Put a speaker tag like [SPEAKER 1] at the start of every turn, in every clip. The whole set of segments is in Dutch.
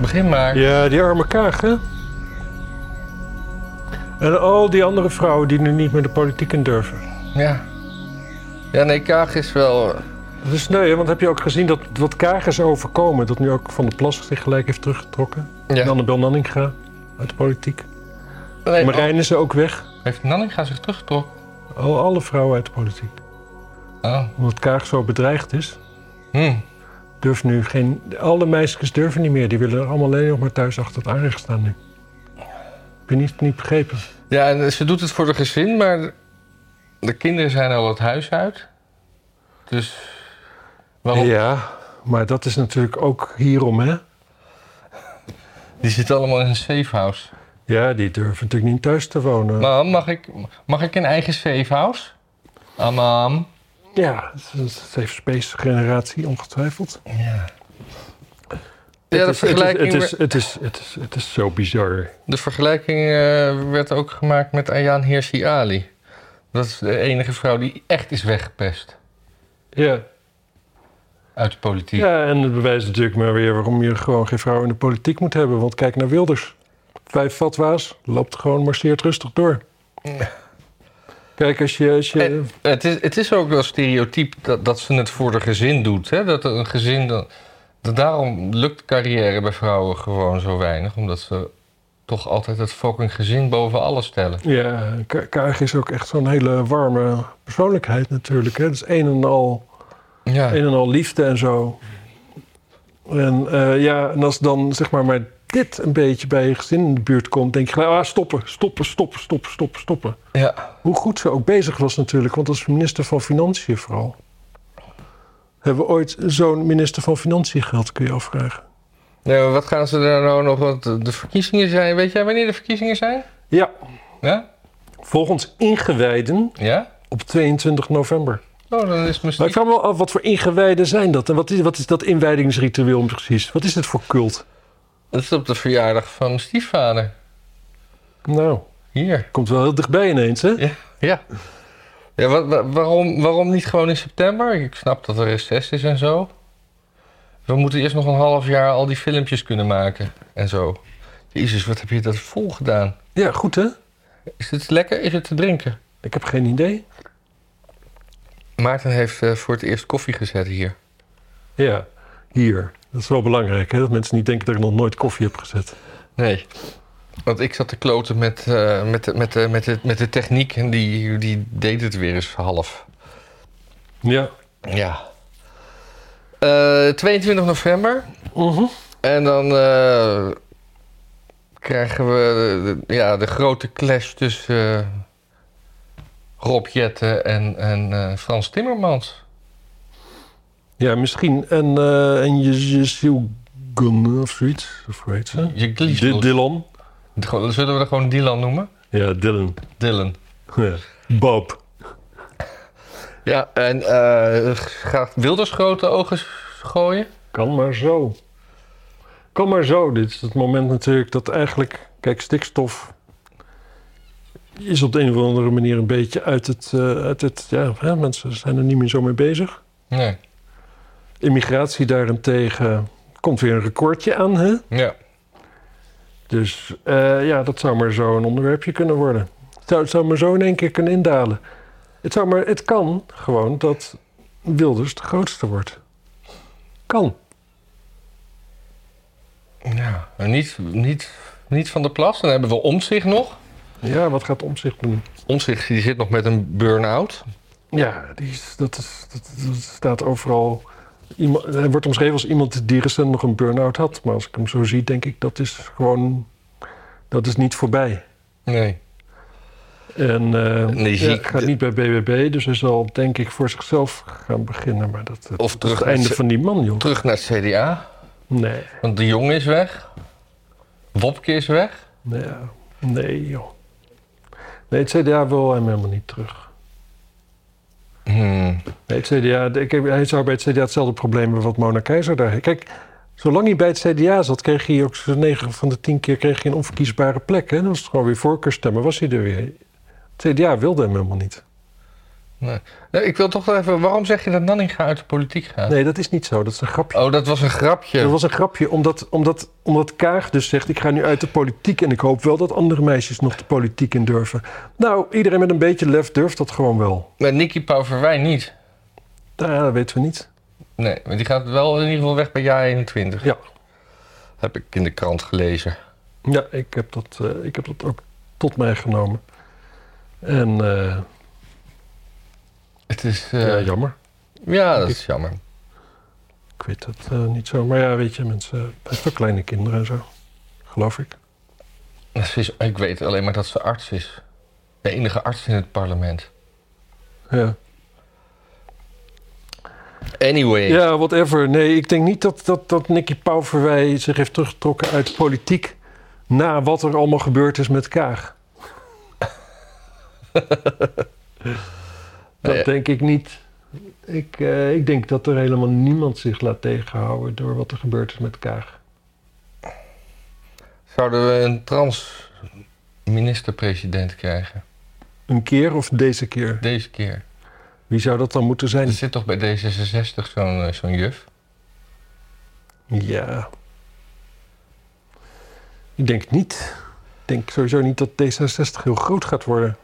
[SPEAKER 1] Begin maar.
[SPEAKER 2] Ja, die arme Kaag, hè? En al die andere vrouwen die nu niet meer de politiek in durven.
[SPEAKER 1] Ja. Ja, nee, Kaag is wel... eh,
[SPEAKER 2] Dat is sneu, hè? want heb je ook gezien dat wat Kaag is overkomen... dat nu ook Van der Plas zich gelijk heeft teruggetrokken?
[SPEAKER 1] Ja.
[SPEAKER 2] En Annabel Nanninga uit de politiek.
[SPEAKER 1] Nee,
[SPEAKER 2] Marijn is er ook weg.
[SPEAKER 1] oh, heeft Nanninga zich teruggetrokken?
[SPEAKER 2] Al alle vrouwen uit de politiek.
[SPEAKER 1] Oh.
[SPEAKER 2] Omdat Kaag zo bedreigd is,
[SPEAKER 1] Hm.
[SPEAKER 2] durft nu geen... Alle meisjes durven niet meer. Die willen allemaal alleen nog maar thuis achter het aanrecht staan nu. Heb je niet, niet begrepen?
[SPEAKER 1] Ja, en eh, ze doet het voor de gezin, maar de kinderen zijn al het huis uit. Dus waarom?
[SPEAKER 2] Ja, maar dat is natuurlijk ook hierom, hè?
[SPEAKER 1] Die zitten allemaal in een safehouse.
[SPEAKER 2] Ja, die durven natuurlijk niet thuis te wonen.
[SPEAKER 1] Mam, mag ik, mag ik een eigen safehouse? Ah, mam.
[SPEAKER 2] Ja, het heeft Space Generatie ongetwijfeld.
[SPEAKER 1] Ja. Ja, de
[SPEAKER 2] het, is, het,
[SPEAKER 1] vergelijking,
[SPEAKER 2] is, het, is, het, is, het, is, het is zo bizar.
[SPEAKER 1] de vergelijking eh, werd ook gemaakt met Ayaan Hirsi Ali. Dat is de enige vrouw die echt is weggepest
[SPEAKER 2] Ja.
[SPEAKER 1] uit de politiek.
[SPEAKER 2] ja, en het bewijst natuurlijk maar weer waarom je gewoon geen vrouw in de politiek moet hebben. Want kijk naar Wilders. Vijf fatwa's, loopt gewoon, marcheert rustig door. Kijk, als je... Als je
[SPEAKER 1] En- Het is, het is ook wel stereotyp dat, dat ze het voor de gezin doet. Hè? Dat een gezin. Dan, dat daarom lukt carrière bij vrouwen gewoon zo weinig. Omdat ze toch altijd het fucking gezin boven alles stellen.
[SPEAKER 2] Ja, Ka- Kaag is ook echt zo'n hele warme persoonlijkheid natuurlijk. Hè? Dat is een en al...
[SPEAKER 1] Ja.
[SPEAKER 2] Een en al liefde en zo. En eh, ja, en als dan zeg maar, maar dit een beetje bij je gezin in de buurt komt, denk je gelijk, ah, stoppen, stoppen, stoppen, stoppen, stoppen, stoppen.
[SPEAKER 1] ja.
[SPEAKER 2] Hoe goed ze ook bezig was natuurlijk, want als minister van Financiën vooral. Hebben we ooit zo'n minister van Financiën gehad, kun je afvragen.
[SPEAKER 1] Nee, maar wat gaan ze daar nou nog? Want de- de verkiezingen zijn. Weet jij wanneer de verkiezingen zijn?
[SPEAKER 2] Ja,
[SPEAKER 1] Ja?
[SPEAKER 2] volgens ingewijden
[SPEAKER 1] Ja?
[SPEAKER 2] op 22 november.
[SPEAKER 1] Oh, dan is
[SPEAKER 2] Maar ik
[SPEAKER 1] misschien.
[SPEAKER 2] vraag me wel af, wat voor ingewijden zijn dat? En wat is, wat is dat inwijdingsritueel precies? Wat is dit voor cult?
[SPEAKER 1] Dat is op de verjaardag van mijn stiefvader.
[SPEAKER 2] Nou,
[SPEAKER 1] Hier.
[SPEAKER 2] komt wel heel dichtbij ineens, hè?
[SPEAKER 1] Ja. Ja. ja wa- wa- waarom, waarom niet gewoon in september? Ik snap dat er recess is en zo. We moeten eerst nog een half jaar al die filmpjes kunnen maken en zo. Jezus, wat heb je dat vol gedaan?
[SPEAKER 2] Ja, goed, hè?
[SPEAKER 1] Is het lekker? Is het te drinken?
[SPEAKER 2] Ik heb geen idee.
[SPEAKER 1] Maarten heeft eh, voor het eerst koffie gezet hier.
[SPEAKER 2] Ja, hier. Dat is wel belangrijk, hè? Dat mensen niet denken dat ik nog nooit koffie heb gezet.
[SPEAKER 1] Nee. Want ik zat te kloten met, eh, met, de- met, de- met, de, met de techniek en die, die deed het weer eens half.
[SPEAKER 2] Ja.
[SPEAKER 1] Ja. Eh, 22 november.
[SPEAKER 2] Mhm.
[SPEAKER 1] En dan eh, krijgen we de, de- ja, de grote clash tussen eh, Rob Jetten en, en eh, Frans Timmermans.
[SPEAKER 2] Ja, misschien. En, eh en je, je Gun of zoiets. Of hoe heet ze?
[SPEAKER 1] Je
[SPEAKER 2] Di-
[SPEAKER 1] Gleeson.
[SPEAKER 2] Dylan.
[SPEAKER 1] Gewoon- Zullen we er gewoon Dylan noemen?
[SPEAKER 2] Ja, Dylan.
[SPEAKER 1] Dylan.
[SPEAKER 2] Ja. Bob.
[SPEAKER 1] Ja, en eh, gaat Wilders grote ogen gooien?
[SPEAKER 2] Kan maar zo. Kan maar zo. Dit is het moment natuurlijk dat eigenlijk... Kijk, stikstof is op de een of andere manier een beetje uit het... eh, uit het ja, hè, mensen zijn er niet meer zo mee bezig.
[SPEAKER 1] Nee.
[SPEAKER 2] Immigratie daarentegen komt weer een recordje aan. Hè?
[SPEAKER 1] Ja.
[SPEAKER 2] Dus eh, ja, dat zou maar zo een onderwerpje kunnen worden. Het zou, het zou maar zo in één keer kunnen indalen. Het, zou maar, het kan gewoon dat Wilders de grootste wordt. Kan.
[SPEAKER 1] ja. En niet, niet, niet van de plas. Dan hebben we Omtzigt nog.
[SPEAKER 2] Ja, wat gaat Omzicht doen?
[SPEAKER 1] Omtzigt die zit nog met een burn-out.
[SPEAKER 2] Ja, die, is- dat, is, dat, dat staat overal. Iemand, hij wordt omschreven als iemand die recent nog een burn-out had. Maar als ik hem zo zie, denk ik dat is gewoon. Dat is niet voorbij.
[SPEAKER 1] Nee.
[SPEAKER 2] En eh,
[SPEAKER 1] Nee,
[SPEAKER 2] ja,
[SPEAKER 1] zie-
[SPEAKER 2] gaat niet bij BBB, dus hij zal denk ik voor zichzelf gaan beginnen. Maar dat, dat
[SPEAKER 1] Of
[SPEAKER 2] is
[SPEAKER 1] terug
[SPEAKER 2] het
[SPEAKER 1] naar
[SPEAKER 2] einde
[SPEAKER 1] ze-
[SPEAKER 2] van die man, joh.
[SPEAKER 1] Terug naar het CDA.
[SPEAKER 2] Nee,
[SPEAKER 1] Want de jongen is weg. Wopke is weg.
[SPEAKER 2] nee, ja. nee, joh. Nee, het CDA wil hem helemaal niet terug.
[SPEAKER 1] Hmm.
[SPEAKER 2] Nee, het CDA, de- kijk, hij zou bij het CDA hetzelfde probleem hebben wat Mona Keizer daar heeft. Kijk, zolang hij bij het CDA zat, kreeg hij ook zo'n 9 van de 10 keer kreeg hij een onverkiesbare plek. Hè? Dan was het gewoon weer voorkeurstemmen, was hij er weer. Het CDA wilde hem helemaal niet.
[SPEAKER 1] Nee, ik wil toch even, waarom zeg je dat Nanninga uit de politiek gaat?
[SPEAKER 2] Nee, dat is niet zo. Dat is een grapje.
[SPEAKER 1] Oh, dat was een grapje.
[SPEAKER 2] Dat was een grapje, omdat, omdat, omdat Kaag dus zegt... ik ga nu uit de politiek en ik hoop wel dat andere meisjes nog de politiek in durven. Nou, iedereen met een beetje lef durft dat gewoon wel.
[SPEAKER 1] Maar Nicky Pauverwijn niet.
[SPEAKER 2] Nou, ja, dat weten we niet.
[SPEAKER 1] Nee, maar die gaat wel in ieder geval weg bij jaar 21.
[SPEAKER 2] Ja.
[SPEAKER 1] Heb ik in de krant gelezen.
[SPEAKER 2] Ja, ik heb dat, eh, ik heb dat ook tot mij genomen. En eh,
[SPEAKER 1] Het is,
[SPEAKER 2] ja,
[SPEAKER 1] eh, ja,
[SPEAKER 2] jammer.
[SPEAKER 1] dat is jammer.
[SPEAKER 2] Ik weet het eh, niet zo. Maar ja, weet je, mensen, eh, best wel kleine kinderen en zo. Geloof ik.
[SPEAKER 1] Ze is- ik weet alleen maar dat ze arts is. De enige arts in het parlement.
[SPEAKER 2] Ja.
[SPEAKER 1] Anyway.
[SPEAKER 2] Ja, whatever. Nee, ik denk niet dat, dat, dat Nicky Pauverwij zich heeft teruggetrokken uit politiek... na wat er allemaal gebeurd is met Kaag. dat
[SPEAKER 1] Nee.
[SPEAKER 2] denk ik niet. Ik, eh, ik denk dat er helemaal niemand zich laat tegenhouden... door wat er gebeurd is met Kaag.
[SPEAKER 1] Zouden we een trans minister-president krijgen?
[SPEAKER 2] Een keer of deze keer?
[SPEAKER 1] Deze keer.
[SPEAKER 2] Wie zou dat dan moeten
[SPEAKER 1] Er
[SPEAKER 2] zijn?
[SPEAKER 1] zit toch bij D66 zo'n eh, zo'n juf?
[SPEAKER 2] Ja. Ik denk het niet. Ik denk sowieso niet dat D66 heel groot gaat worden.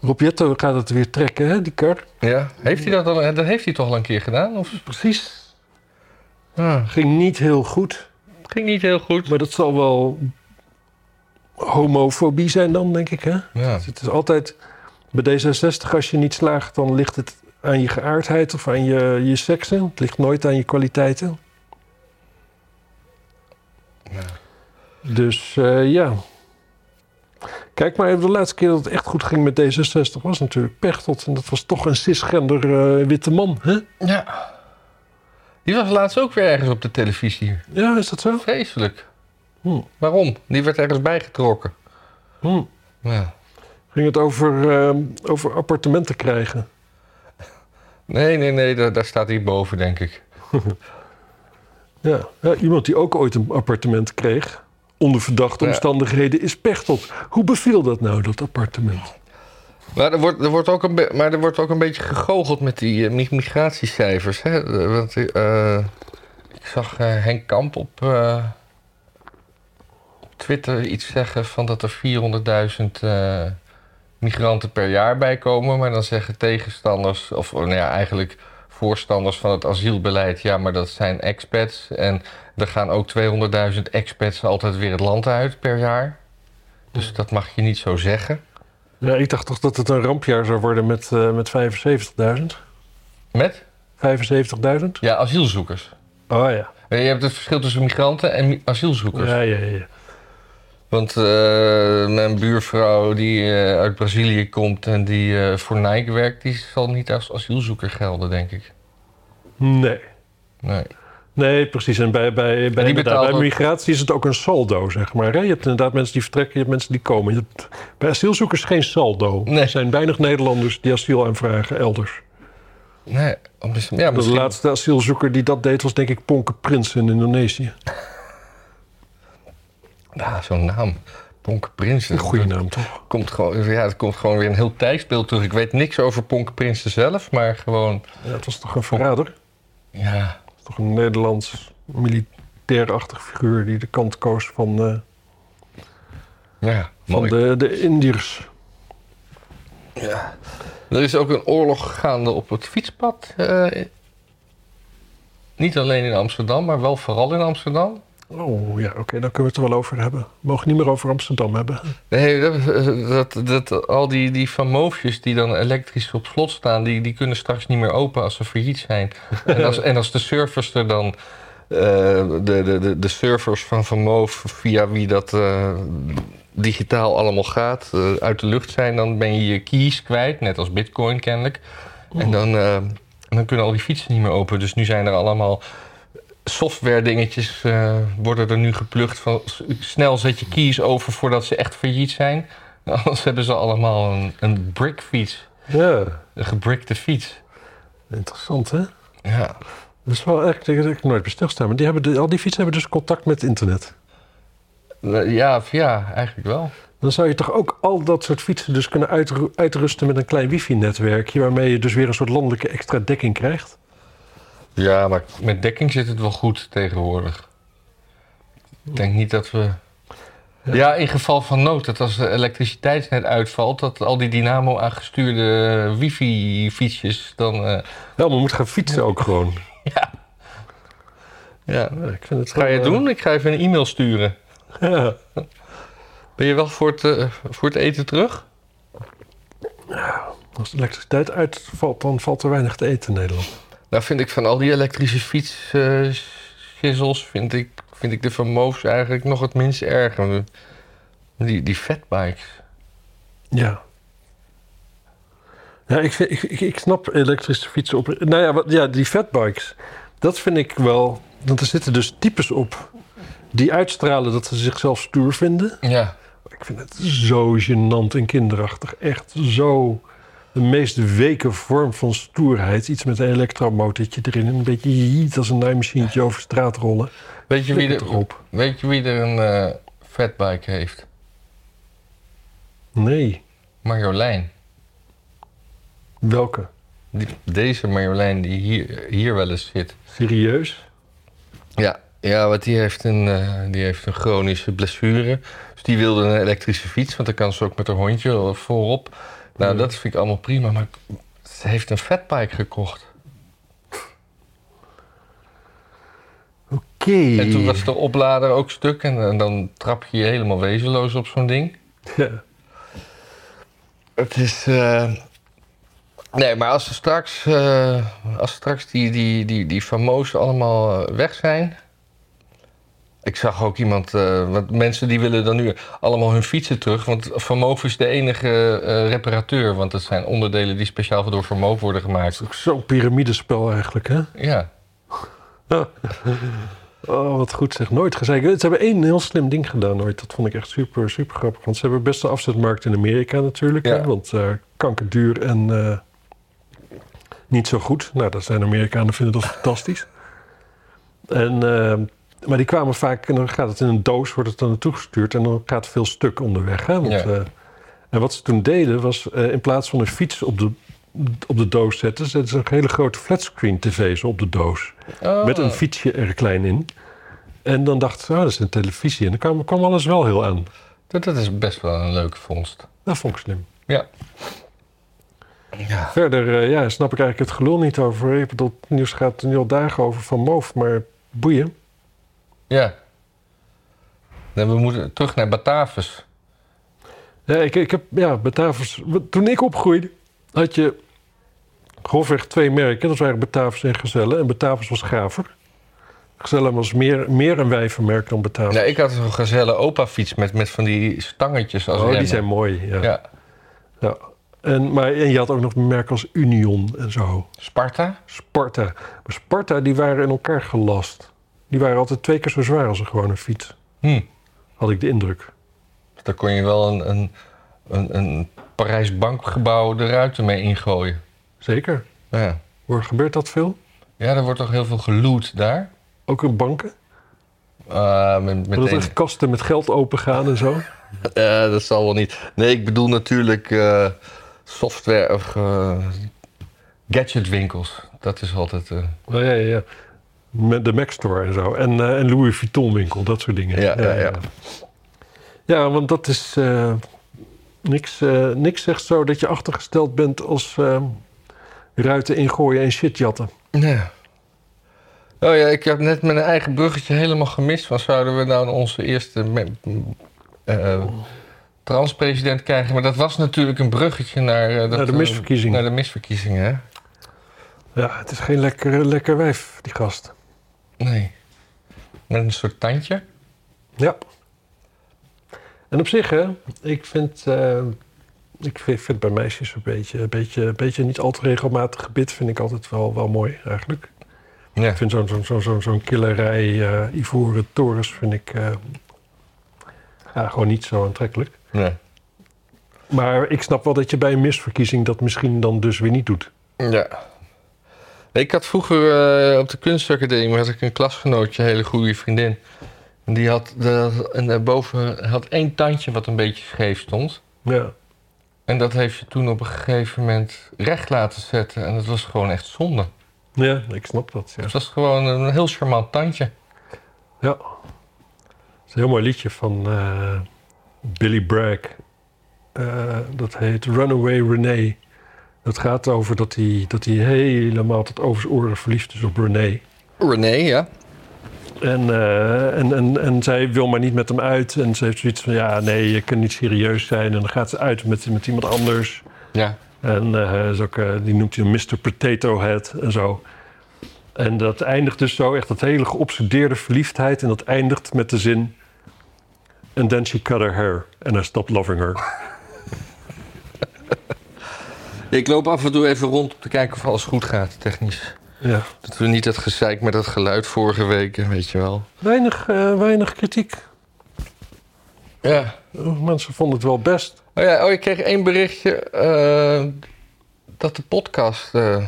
[SPEAKER 2] Rob Jetto gaat het weer trekken, hè, die kar.
[SPEAKER 1] Ja. Heeft hij dat al? eh, Dat heeft hij toch al een keer gedaan? Of?
[SPEAKER 2] Precies.
[SPEAKER 1] Ah,
[SPEAKER 2] Ging niet heel goed.
[SPEAKER 1] ging niet heel goed.
[SPEAKER 2] Maar dat zal wel homofobie zijn dan, denk ik, hè?
[SPEAKER 1] Ja.
[SPEAKER 2] Dus het is altijd... Bij D66, als je niet slaagt, dan ligt het aan je geaardheid of aan je, je seksen. Het ligt nooit aan je kwaliteiten.
[SPEAKER 1] Ja.
[SPEAKER 2] Dus eh, ja. Kijk maar, de laatste keer dat het echt goed ging met D66 was natuurlijk Pechtold. En dat was toch een cisgender eh, witte man, hè?
[SPEAKER 1] ja. Die was laatst ook weer ergens op de televisie.
[SPEAKER 2] Ja, is dat zo?
[SPEAKER 1] Oh. Vreselijk.
[SPEAKER 2] Hm.
[SPEAKER 1] Waarom? Die werd ergens bijgetrokken.
[SPEAKER 2] Hm.
[SPEAKER 1] Ja.
[SPEAKER 2] Ging het over, eh, over appartementen krijgen?
[SPEAKER 1] Nee, nee, nee, daar, daar staat hij boven, denk ik.
[SPEAKER 2] Ja. ja, iemand die ook ooit een appartement kreeg, onder verdachte
[SPEAKER 1] Ja.
[SPEAKER 2] omstandigheden, is Pechtold. Hoe beviel dat nou, dat appartement?
[SPEAKER 1] Maar er wordt, er wordt, ook, een be- maar er wordt ook een beetje gegoocheld met die eh, mi- migratiecijfers. Hè? Eh, Want, eh, ik zag eh, Henk Kamp op eh, Twitter iets zeggen van dat er 400.000 eh, migranten per jaar bij komen. Maar dan zeggen tegenstanders, of oh, nou ja, eigenlijk voorstanders van het asielbeleid, ja, maar dat zijn expats. En er gaan ook 200.000 expats altijd weer het land uit per jaar. Dus dat mag je niet zo zeggen.
[SPEAKER 2] Ja, ik dacht toch dat het een rampjaar zou worden met, eh, met 75.000?
[SPEAKER 1] Met?
[SPEAKER 2] 75.000?
[SPEAKER 1] Ja, asielzoekers. Eh,
[SPEAKER 2] Oh ja.
[SPEAKER 1] Je hebt het verschil tussen migranten en mi- asielzoekers.
[SPEAKER 2] Ja, ja, ja.
[SPEAKER 1] Want eh, mijn buurvrouw die eh, uit Brazilië komt en die eh, voor Nike werkt, die zal niet als asielzoeker gelden, denk ik.
[SPEAKER 2] Nee.
[SPEAKER 1] Nee.
[SPEAKER 2] Nee, precies. En bij, bij, bij,
[SPEAKER 1] betaalt
[SPEAKER 2] bij
[SPEAKER 1] ook-
[SPEAKER 2] migratie is het ook een saldo, zeg maar. hè? Je hebt inderdaad mensen die vertrekken, je hebt mensen die komen. Je hebt bij asielzoekers geen saldo.
[SPEAKER 1] Nee.
[SPEAKER 2] Er zijn weinig Nederlanders die asiel aanvragen elders.
[SPEAKER 1] Nee, om- dus- ja,
[SPEAKER 2] De
[SPEAKER 1] misschien,
[SPEAKER 2] laatste asielzoeker die dat deed was denk ik Ponke Prins in Indonesië.
[SPEAKER 1] Ja, zo'n naam. Ponke Prins.
[SPEAKER 2] Een
[SPEAKER 1] Dat
[SPEAKER 2] goede naam toch?
[SPEAKER 1] Komt gewoon, ja, het komt gewoon weer een heel tijdsbeeld terug. Ik weet niks over Ponke Prinsen zelf, maar gewoon...
[SPEAKER 2] Ja, het was toch een verrader? Het
[SPEAKER 1] Ja,
[SPEAKER 2] was toch een Nederlands militairachtig figuur die de kant koos van, eh,
[SPEAKER 1] ja
[SPEAKER 2] van
[SPEAKER 1] mooi.
[SPEAKER 2] de, de Indiërs.
[SPEAKER 1] Ja. Er is ook een oorlog gaande op het fietspad. eh, niet alleen in Amsterdam, maar wel vooral in Amsterdam.
[SPEAKER 2] Oh ja, oké, dan kunnen we het er wel over hebben. We mogen niet meer over Amsterdam hebben.
[SPEAKER 1] Nee, dat, dat, dat, al die, die van Moofjes die dan elektrisch op slot staan, die, die kunnen straks niet meer open als ze failliet zijn. En als, en als de servers er dan, eh, de, de, de, de servers van Van Moof, via wie dat eh, digitaal allemaal gaat, eh, uit de lucht zijn, dan ben je je keys kwijt, net als Bitcoin kennelijk. En dan, eh, dan kunnen al die fietsen niet meer open. Dus nu zijn er allemaal software dingetjes eh, worden er nu geplukt van s- snel zet je keys over voordat ze echt failliet zijn. Anders hebben ze allemaal een, een brickfiets,
[SPEAKER 2] Ja,
[SPEAKER 1] een gebrickte fiets.
[SPEAKER 2] interessant hè?
[SPEAKER 1] Ja.
[SPEAKER 2] Dat is wel echt, ik heb ik nooit bij stilgestaan. Maar die hebben de- al die fietsen hebben dus contact met internet.
[SPEAKER 1] Eh, Ja, ja, eigenlijk wel.
[SPEAKER 2] Dan zou je toch ook al dat soort fietsen dus kunnen uitru- uitrusten met een klein wifi-netwerkje, waarmee je dus weer een soort landelijke extra dekking krijgt.
[SPEAKER 1] Ja, maar met dekking zit het wel goed tegenwoordig. Ik denk niet dat we.
[SPEAKER 2] Ja.
[SPEAKER 1] Ja, in geval van nood, dat als de elektriciteitsnet uitvalt, dat al die dynamo aangestuurde wifi-fietsjes dan. eh,
[SPEAKER 2] Ja, maar moet gaan fietsen ook gewoon.
[SPEAKER 1] ja,
[SPEAKER 2] Ja, ik vind het
[SPEAKER 1] ga je het
[SPEAKER 2] gewoon,
[SPEAKER 1] doen? Ik ga even een e-mail sturen.
[SPEAKER 2] eh, ja.
[SPEAKER 1] Ben je wel voor het, eh, voor het eten terug?
[SPEAKER 2] Als de elektriciteit uitvalt, dan valt er weinig te eten in Nederland.
[SPEAKER 1] Nou vind ik van al die elektrische fietsgissels, vind ik, vind ik de Van Moofs eigenlijk nog het minst erg. Die, die fatbikes.
[SPEAKER 2] Ja. Ja, ik, vind- ik, ik, ik snap elektrische fietsen op. Nou ja, wat, ja, die fatbikes. Dat vind ik wel. Want er zitten dus types op die uitstralen dat ze zichzelf stoer vinden.
[SPEAKER 1] Ja.
[SPEAKER 2] Ik vind het zo gênant en kinderachtig. Echt zo de meest weke vorm van stoerheid. Iets met een elektromotortje erin. en Een beetje jiet als een naaimachientje over straat rollen.
[SPEAKER 1] Weet je, wie
[SPEAKER 2] Flikker toch
[SPEAKER 1] er,
[SPEAKER 2] op.
[SPEAKER 1] weet je wie er een eh, fatbike heeft?
[SPEAKER 2] Nee,
[SPEAKER 1] Marjolein.
[SPEAKER 2] welke?
[SPEAKER 1] Die, deze Marjolein die hier, hier wel eens zit.
[SPEAKER 2] Serieus?
[SPEAKER 1] Ja, ja want die heeft, een, eh, die heeft een chronische blessure. Dus die wilde een elektrische fiets, want dan kan ze ook met haar hondje voorop. Nou,
[SPEAKER 2] Ja.
[SPEAKER 1] dat vind ik allemaal prima, maar ze heeft een fatbike gekocht.
[SPEAKER 2] Oké.
[SPEAKER 1] En toen was de oplader ook stuk en, en dan trap je je helemaal wezenloos op zo'n ding.
[SPEAKER 2] Ja.
[SPEAKER 1] Het is. eh, Nee, maar als ze straks, eh, als straks die, die, die, die famozen allemaal eh, weg zijn. Ik zag ook iemand, eh, want mensen die willen dan nu allemaal hun fietsen terug. Want Vermoof is de enige eh, reparateur. Want dat zijn onderdelen die speciaal voor door Vermoof worden gemaakt.
[SPEAKER 2] Het is ook zo'n piramidespel eigenlijk, hè?
[SPEAKER 1] Ja,
[SPEAKER 2] Oh, wat goed zeg. Nooit gezeik. Ze hebben één heel slim ding gedaan ooit. Dat vond ik echt super, super grappig. Want ze hebben best een afzetmarkt in Amerika natuurlijk.
[SPEAKER 1] Ja.
[SPEAKER 2] Hè? Want eh kankerduur en eh, niet zo goed. Nou, dat zijn Amerikanen vinden dat fantastisch. En, eh, maar die kwamen vaak, en dan gaat het in een doos, wordt het dan naartoe gestuurd. En dan gaat veel stuk onderweg. Hè? Want,
[SPEAKER 1] Ja.
[SPEAKER 2] eh, en wat ze toen deden was, eh, in plaats van een fiets op de, op de doos zetten... zetten ze een hele grote flatscreen tv's op de doos.
[SPEAKER 1] Oh.
[SPEAKER 2] Met een fietsje er klein in. En dan dacht ze, oh, dat is een televisie. En dan kwam, kwam alles wel heel aan.
[SPEAKER 1] dat, dat is best wel een leuke vondst.
[SPEAKER 2] Dat vond ik slim.
[SPEAKER 1] Ja. ja.
[SPEAKER 2] Verder eh, ja, snap ik eigenlijk het gelul niet over. Ik bedoel, het nieuws gaat nu al dagen over Van Moof, maar boeien.
[SPEAKER 1] Ja. Nee, we moeten terug naar Batavus.
[SPEAKER 2] Ja, ik, ik heb, ja, Batavus... Toen ik opgroeide, had je grofweg twee merken. Dat waren Batavus en Gezellen. En Batavus was gaver. Gezellen was meer, meer een wijvenmerk dan Batavus.
[SPEAKER 1] Nou, ik had zo'n gazelle opa fiets met, met van die stangetjes als
[SPEAKER 2] oh, die
[SPEAKER 1] remmen.
[SPEAKER 2] zijn mooi, ja.
[SPEAKER 1] Ja.
[SPEAKER 2] Ja. En, maar, en je had ook nog merken als Union en zo.
[SPEAKER 1] Sparta?
[SPEAKER 2] Sparta. Maar Sparta, die waren in elkaar gelast. Die waren altijd twee keer zo zwaar als een gewone fiets.
[SPEAKER 1] Hm.
[SPEAKER 2] Had ik de indruk.
[SPEAKER 1] Dus Daar kon je wel een, een, een, een Parijs bankgebouw de ruiten mee ingooien.
[SPEAKER 2] Zeker.
[SPEAKER 1] Ja.
[SPEAKER 2] Hoor, gebeurt dat veel?
[SPEAKER 1] ja, er wordt toch heel veel geloot daar.
[SPEAKER 2] Ook in banken?
[SPEAKER 1] Eh, met, met
[SPEAKER 2] Dat
[SPEAKER 1] een-
[SPEAKER 2] echt kasten met geld opengaan en zo?
[SPEAKER 1] Eh, dat zal wel niet. Nee, ik bedoel natuurlijk eh, software of eh, gadgetwinkels. Dat is altijd... eh,
[SPEAKER 2] Oh, ja, ja, ja. Met de Mac Store en zo. En, eh, en Louis Vuitton winkel, dat soort dingen.
[SPEAKER 1] Ja, ja, ja.
[SPEAKER 2] Ja, want dat is... eh, niks, eh, niks zegt zo dat je achtergesteld bent als... eh, ruiten ingooien en shit jatten.
[SPEAKER 1] Ja. Oh ja, ik heb net mijn eigen bruggetje helemaal gemist. Want zouden we nou onze eerste me- m- eh, transpresident krijgen? Maar dat was natuurlijk een bruggetje naar, eh, dat,
[SPEAKER 2] Naar de
[SPEAKER 1] eh,
[SPEAKER 2] misverkiezing.
[SPEAKER 1] naar de misverkiezingen, hè?
[SPEAKER 2] Ja, het is geen lekker, lekker wijf, die gast.
[SPEAKER 1] Nee. Met een soort tandje.
[SPEAKER 2] Ja. En op zich, hè, ik vind, eh, ik vind, vind bij meisjes een beetje, een beetje, een beetje niet al te regelmatig gebit, vind ik altijd wel, wel mooi eigenlijk.
[SPEAKER 1] Ja.
[SPEAKER 2] Ik vind zo'n zo'n zo'n zo'n zo'n killerij eh, ivoren torens, vind ik eh, ja, gewoon niet zo aantrekkelijk.
[SPEAKER 1] Ja.
[SPEAKER 2] Maar ik snap wel dat je bij een misverkiezing dat misschien dan dus weer niet doet.
[SPEAKER 1] ja. Ik had vroeger eh, op de kunstacademie had ik een klasgenootje, een hele goede vriendin. Die had de, en daarboven had één tandje wat een beetje scheef stond.
[SPEAKER 2] Ja.
[SPEAKER 1] En dat heeft ze toen op een gegeven moment recht laten zetten. En dat was gewoon echt zonde.
[SPEAKER 2] ja, ik snap dat. Ja.
[SPEAKER 1] Het was gewoon een heel charmant tandje.
[SPEAKER 2] Ja. Het is een heel mooi liedje van eh, Billy Bragg. Eh, dat heet Runaway Renee. Dat gaat over dat hij, dat hij helemaal tot over zijn oren verliefd is op Renee.
[SPEAKER 1] René, ja.
[SPEAKER 2] En, eh, en, en, en zij wil maar niet met hem uit. En ze heeft zoiets van, ja, nee, je kan niet serieus zijn. En dan gaat ze uit met, met iemand anders.
[SPEAKER 1] Ja.
[SPEAKER 2] En eh, is ook, eh, die noemt hij een Mr. Potato Head en zo. En dat eindigt dus zo, echt dat hele geobsedeerde verliefdheid. En dat eindigt met de zin... And then she cut her hair and I stopped loving her.
[SPEAKER 1] Ik loop af en toe even rond om te kijken of alles goed gaat, technisch.
[SPEAKER 2] Ja.
[SPEAKER 1] Dat we niet dat gezeik met dat geluid vorige week, weet je wel.
[SPEAKER 2] Weinig, eh, weinig kritiek.
[SPEAKER 1] Ja.
[SPEAKER 2] Eh, Mensen vonden het wel best.
[SPEAKER 1] Oh ja, oh, ik kreeg één berichtje eh, dat de podcast eh,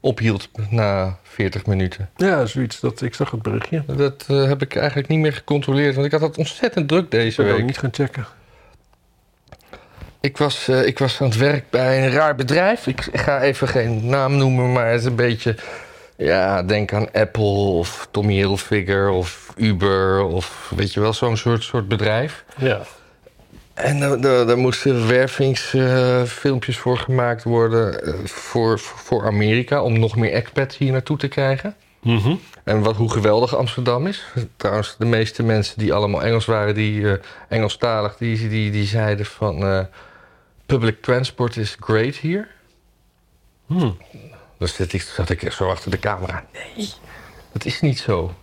[SPEAKER 1] ophield na 40 minuten.
[SPEAKER 2] Ja, zoiets dat... Ik zag het berichtje. Ik
[SPEAKER 1] Dat eh, heb ik eigenlijk niet meer gecontroleerd, want ik had het ontzettend druk deze
[SPEAKER 2] ben ook
[SPEAKER 1] week.
[SPEAKER 2] niet gaan checken.
[SPEAKER 1] Ik was, eh, ik was aan het werk bij een raar bedrijf. Ik ga even geen naam noemen, maar het is een beetje... Ja, denk aan Apple of Tommy Hilfiger of Uber of weet je wel, zo'n soort, soort bedrijf.
[SPEAKER 2] Ja.
[SPEAKER 1] En daar- daar daar moesten wervingsfilmpjes voor gemaakt worden eh, voor, voor Amerika... om nog meer expats hier naartoe te krijgen.
[SPEAKER 2] Mhm.
[SPEAKER 1] En wat, hoe geweldig Amsterdam is. Trouwens, de meeste mensen die allemaal Engels waren, die eh, Engelstalig, die, die, die zeiden van eh, public transport is great hier.
[SPEAKER 2] Hm.
[SPEAKER 1] Dus zat ik, zat ik zo achter de camera. Nee, dat is niet zo.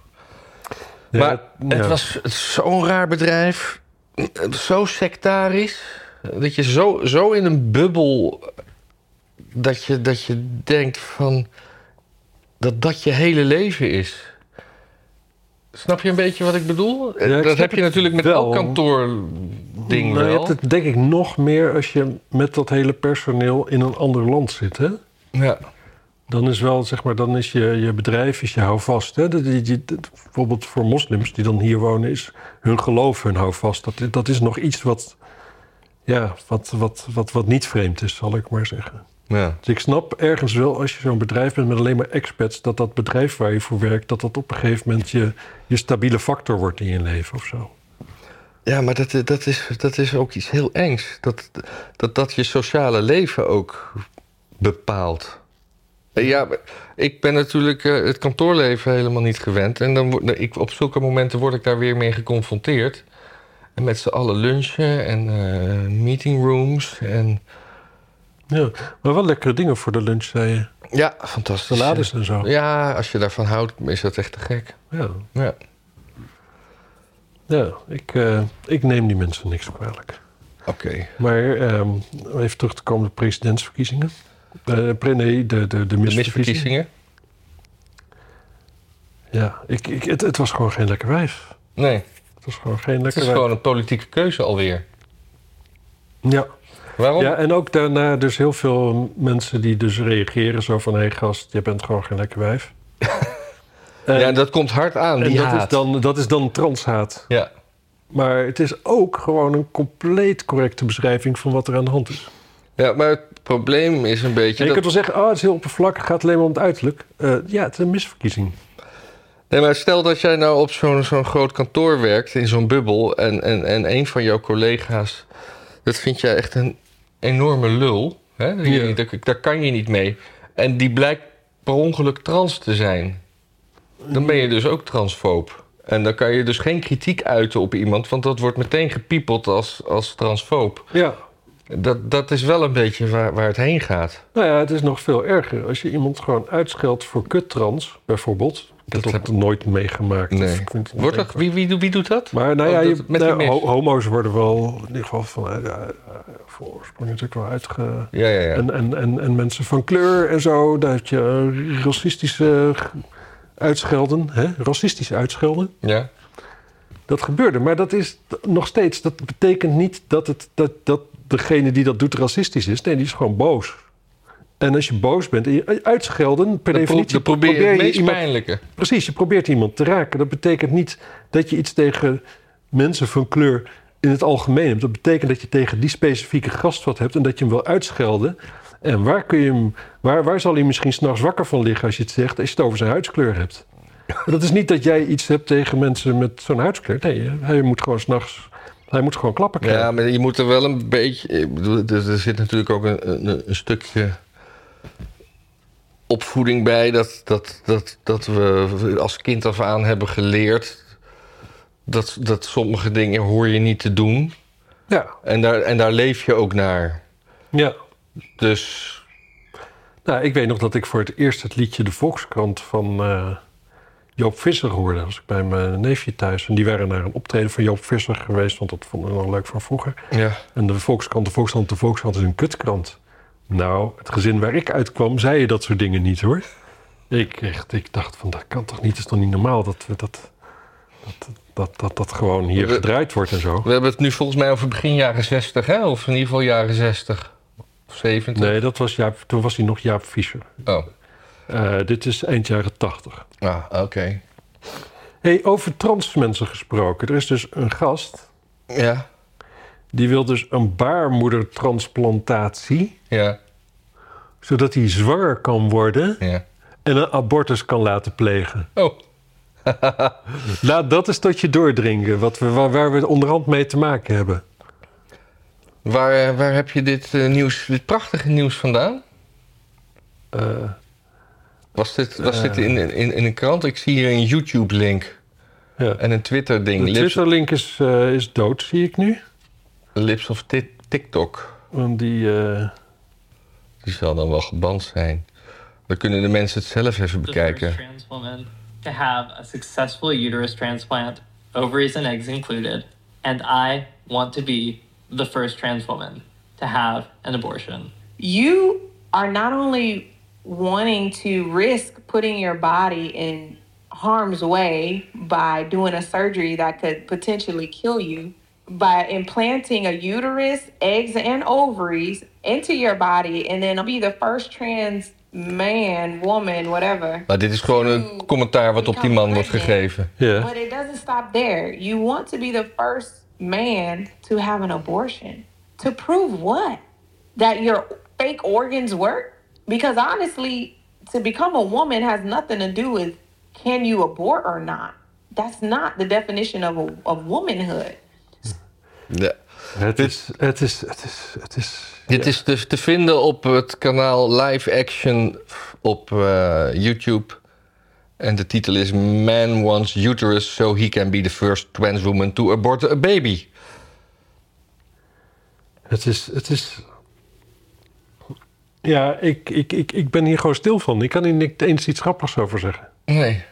[SPEAKER 2] Ja,
[SPEAKER 1] maar het
[SPEAKER 2] ja.
[SPEAKER 1] was zo'n raar bedrijf, eh, zo sectarisch, dat je zo, zo in een bubbel, dat je, dat je denkt van, dat dat je hele leven is. Snap je een beetje wat ik bedoel? Eh,
[SPEAKER 2] Ja, ik
[SPEAKER 1] dat
[SPEAKER 2] snap
[SPEAKER 1] heb je
[SPEAKER 2] het
[SPEAKER 1] natuurlijk met
[SPEAKER 2] wel.
[SPEAKER 1] elk kantoording
[SPEAKER 2] Nou, je
[SPEAKER 1] wel.
[SPEAKER 2] hebt het denk ik nog meer als je met dat hele personeel in een ander land zit, hè?
[SPEAKER 1] Ja.
[SPEAKER 2] Dan is wel, zeg maar, dan is je, je bedrijf, is je houvast. Hè? Dat- die- die- dat- bijvoorbeeld voor moslims die dan hier wonen, is hun geloof hun houvast. Dat, dat is nog iets wat, ja, wat, wat, wat, wat niet vreemd is, zal ik maar zeggen.
[SPEAKER 1] Ja.
[SPEAKER 2] Dus ik snap ergens wel, als je zo'n bedrijf bent met alleen maar expats... dat dat bedrijf waar je voor werkt, dat dat op een gegeven moment je, je stabiele factor wordt in je leven of zo.
[SPEAKER 1] ja, maar dat, dat, is, dat is ook iets heel engs. Dat dat, dat je sociale leven ook bepaalt. Eh, Ja, maar ik ben natuurlijk eh, het kantoorleven helemaal niet gewend. En dan, wo- nou, ik, op zulke momenten word ik daar weer mee geconfronteerd. En met z'n allen lunchen en eh, meetingrooms. En,
[SPEAKER 2] Ja, maar wel lekkere dingen voor de lunch, zei je.
[SPEAKER 1] ja, fantastisch.
[SPEAKER 2] Salades en zo.
[SPEAKER 1] Ja, als je daarvan houdt, is dat echt te gek.
[SPEAKER 2] Ja,
[SPEAKER 1] Ja.
[SPEAKER 2] ja ik, eh, ik neem die mensen niks kwalijk.
[SPEAKER 1] Oké.
[SPEAKER 2] Maar ehm, om even terug te komen op de presidentsverkiezingen. De, pre- nee, de, de, de
[SPEAKER 1] De
[SPEAKER 2] misverkiezingen.
[SPEAKER 1] misverkiezingen?
[SPEAKER 2] Ja, ik, ik, het, het was gewoon geen lekker wijf.
[SPEAKER 1] Nee,
[SPEAKER 2] Het was gewoon geen
[SPEAKER 1] het
[SPEAKER 2] lekker
[SPEAKER 1] is
[SPEAKER 2] wijf.
[SPEAKER 1] gewoon een politieke keuze alweer.
[SPEAKER 2] Ja.
[SPEAKER 1] Waarom?
[SPEAKER 2] ja, en ook daarna dus heel veel mensen die dus reageren zo van... hé hey, gast, je bent gewoon geen lekker wijf. en
[SPEAKER 1] ja, dat komt hard aan,
[SPEAKER 2] en
[SPEAKER 1] die
[SPEAKER 2] dat,
[SPEAKER 1] haat.
[SPEAKER 2] is dan, dat is dan transhaat.
[SPEAKER 1] Ja,
[SPEAKER 2] Maar het is ook gewoon een compleet correcte beschrijving van wat er aan de hand is.
[SPEAKER 1] ja, maar het probleem is een beetje...
[SPEAKER 2] En je
[SPEAKER 1] dat-
[SPEAKER 2] kunt wel zeggen, oh, het is heel oppervlakkig, gaat alleen maar om het uiterlijk. Eh, ja, het is een misverkiezing.
[SPEAKER 1] Nee, maar stel dat jij nou op zo'n zo'n groot kantoor werkt, in zo'n bubbel, en, en, en een van jouw collega's, dat vind jij echt een enorme lul. Hè? Je-
[SPEAKER 2] Ja.
[SPEAKER 1] daar, daar kan je niet mee. En die blijkt per ongeluk trans te zijn. Dan ben je dus ook transfoob. En dan kan je dus geen kritiek uiten op iemand, want dat wordt meteen gepiepeld als, als transfoob.
[SPEAKER 2] Ja,
[SPEAKER 1] Dat, dat is wel een beetje waar, waar het heen gaat.
[SPEAKER 2] Nou ja, het is nog veel erger. Als je iemand gewoon uitscheldt voor kuttrans, bijvoorbeeld. Ik heb
[SPEAKER 1] Dat
[SPEAKER 2] dat
[SPEAKER 1] heb-
[SPEAKER 2] nooit meegemaakt.
[SPEAKER 1] Nee.
[SPEAKER 2] Dus ik vind het
[SPEAKER 1] Wordt dat,
[SPEAKER 2] ondenkbaar.
[SPEAKER 1] wie, wie, doet- wie doet dat?
[SPEAKER 2] Maar nou
[SPEAKER 1] Oh,
[SPEAKER 2] ja,
[SPEAKER 1] dat-
[SPEAKER 2] je,
[SPEAKER 1] met die
[SPEAKER 2] nou,
[SPEAKER 1] mes.
[SPEAKER 2] ho- homo's worden wel in ieder geval van... eh, ja, eh, voor oorsprong natuurlijk wel uitge...
[SPEAKER 1] Ja, ja, ja.
[SPEAKER 2] En, en, en, en mensen van kleur en zo, daar heb je eh, racistische eh, uitschelden, hè? racistische uitschelden.
[SPEAKER 1] ja.
[SPEAKER 2] Dat gebeurde, maar dat is t- nog steeds, dat betekent niet dat, het, dat, dat degene die dat doet racistisch is. Nee, die is gewoon boos. En als je boos bent, en je- uitschelden per
[SPEAKER 1] Dat pro-
[SPEAKER 2] definitie
[SPEAKER 1] dat probeer je
[SPEAKER 2] probeer
[SPEAKER 1] het
[SPEAKER 2] je
[SPEAKER 1] meest
[SPEAKER 2] iemand
[SPEAKER 1] pijnlijke.
[SPEAKER 2] Precies, je probeert iemand te raken. Dat betekent niet dat je iets tegen mensen van kleur in het algemeen hebt. Dat betekent dat je tegen die specifieke gast wat hebt en dat je hem wil uitschelden. En waar, kun je hem, waar, waar zal hij misschien s'nachts wakker van liggen als je het zegt, als je het over zijn huidskleur hebt? Dat is niet dat jij iets hebt tegen mensen met zo'n huidskleur. Nee, hij moet gewoon s'nachts, hij moet gewoon klappen krijgen.
[SPEAKER 1] Ja, maar je moet er wel een beetje. ik bedoel, Er er zit natuurlijk ook een, een, een stukje opvoeding bij. Dat, dat, dat, dat we als kind af aan hebben geleerd. Dat, dat sommige dingen hoor je niet te doen.
[SPEAKER 2] Ja,
[SPEAKER 1] En daar, en daar leef je ook naar.
[SPEAKER 2] ja.
[SPEAKER 1] Dus
[SPEAKER 2] Nou, ik weet nog dat ik voor het eerst het liedje De Volkskrant van eh, Joop Visser hoorde. Dat was ik bij mijn neefje thuis. En die waren naar een optreden van Joop Visser geweest, want dat vonden we nog leuk van vroeger.
[SPEAKER 1] ja.
[SPEAKER 2] En de Volkskrant, de Volkskrant, de Volkskrant is een kutkrant. Nou, het gezin waar ik uitkwam, zei je dat soort dingen niet hoor. Ik, echt, ik dacht van, dat kan toch niet? Het is toch niet normaal dat we dat, dat, dat, dat, dat gewoon hier
[SPEAKER 1] We-
[SPEAKER 2] gedraaid wordt en zo?
[SPEAKER 1] We hebben het nu volgens mij over begin jaren 60, hè? Of in ieder geval jaren 60. Of 70.
[SPEAKER 2] Nee, dat was Jaap, toen was hij nog Jaap Visser.
[SPEAKER 1] Oh,
[SPEAKER 2] Eh, dit is eind jaren tachtig.
[SPEAKER 1] ah, oké.
[SPEAKER 2] Hey, over trans mensen gesproken. Er is dus een gast
[SPEAKER 1] Ja,
[SPEAKER 2] die wil dus een baarmoedertransplantatie,
[SPEAKER 1] ja,
[SPEAKER 2] zodat hij zwanger kan worden
[SPEAKER 1] ja.
[SPEAKER 2] en een abortus kan laten plegen.
[SPEAKER 1] Oh,
[SPEAKER 2] Laat dat eens tot je doordringen, wat we, waar, waar we onderhand mee te maken hebben.
[SPEAKER 1] waar, eh, waar heb je dit eh, nieuws, dit prachtige nieuws vandaan?
[SPEAKER 2] Eh,
[SPEAKER 1] Was dit, was dit in, in, in een krant? Ik zie hier een YouTube-link
[SPEAKER 2] ja.
[SPEAKER 1] en een Twitter-ding.
[SPEAKER 2] De
[SPEAKER 1] Lips,
[SPEAKER 2] Twitter-link is, eh, is dood, zie ik nu.
[SPEAKER 1] lips of Ti- TikTok.
[SPEAKER 2] Want die, eh,
[SPEAKER 1] Die zal dan wel geband zijn. Dan kunnen de mensen het zelf even
[SPEAKER 3] the first
[SPEAKER 1] bekijken.
[SPEAKER 3] trans woman to have a successful uterus transplant, ovaries and eggs included, and I want to be the first trans woman to have an abortion.
[SPEAKER 4] you are not only wanting to risk putting your body in harm's way by doing a surgery that could potentially kill you by implanting a uterus, eggs, and ovaries into your body, and then be the first trans man, woman, whatever.
[SPEAKER 1] Maar dit is gewoon een commentaar wat op die man wordt gegeven.
[SPEAKER 2] ja.
[SPEAKER 4] But it doesn't stop there. You want to be the first man to have an abortion. To prove what? That your fake organs work? Because honestly, to become a woman has nothing to do with can you abort or not. That's not the definition of a, of womanhood.
[SPEAKER 1] Ja.
[SPEAKER 2] Het is, het is, het is, het is...
[SPEAKER 1] Dit
[SPEAKER 2] ja.
[SPEAKER 1] is dus te vinden op het kanaal Live Action op eh, YouTube. En de titel is Man Wants Uterus So He Can Be The First Trans Woman To Abort A Baby.
[SPEAKER 2] Het is. Het is... Ja, ik, ik, ik, ik ben hier gewoon stil van. Ik kan hier niet eens iets grappigs over zeggen.
[SPEAKER 1] Nee.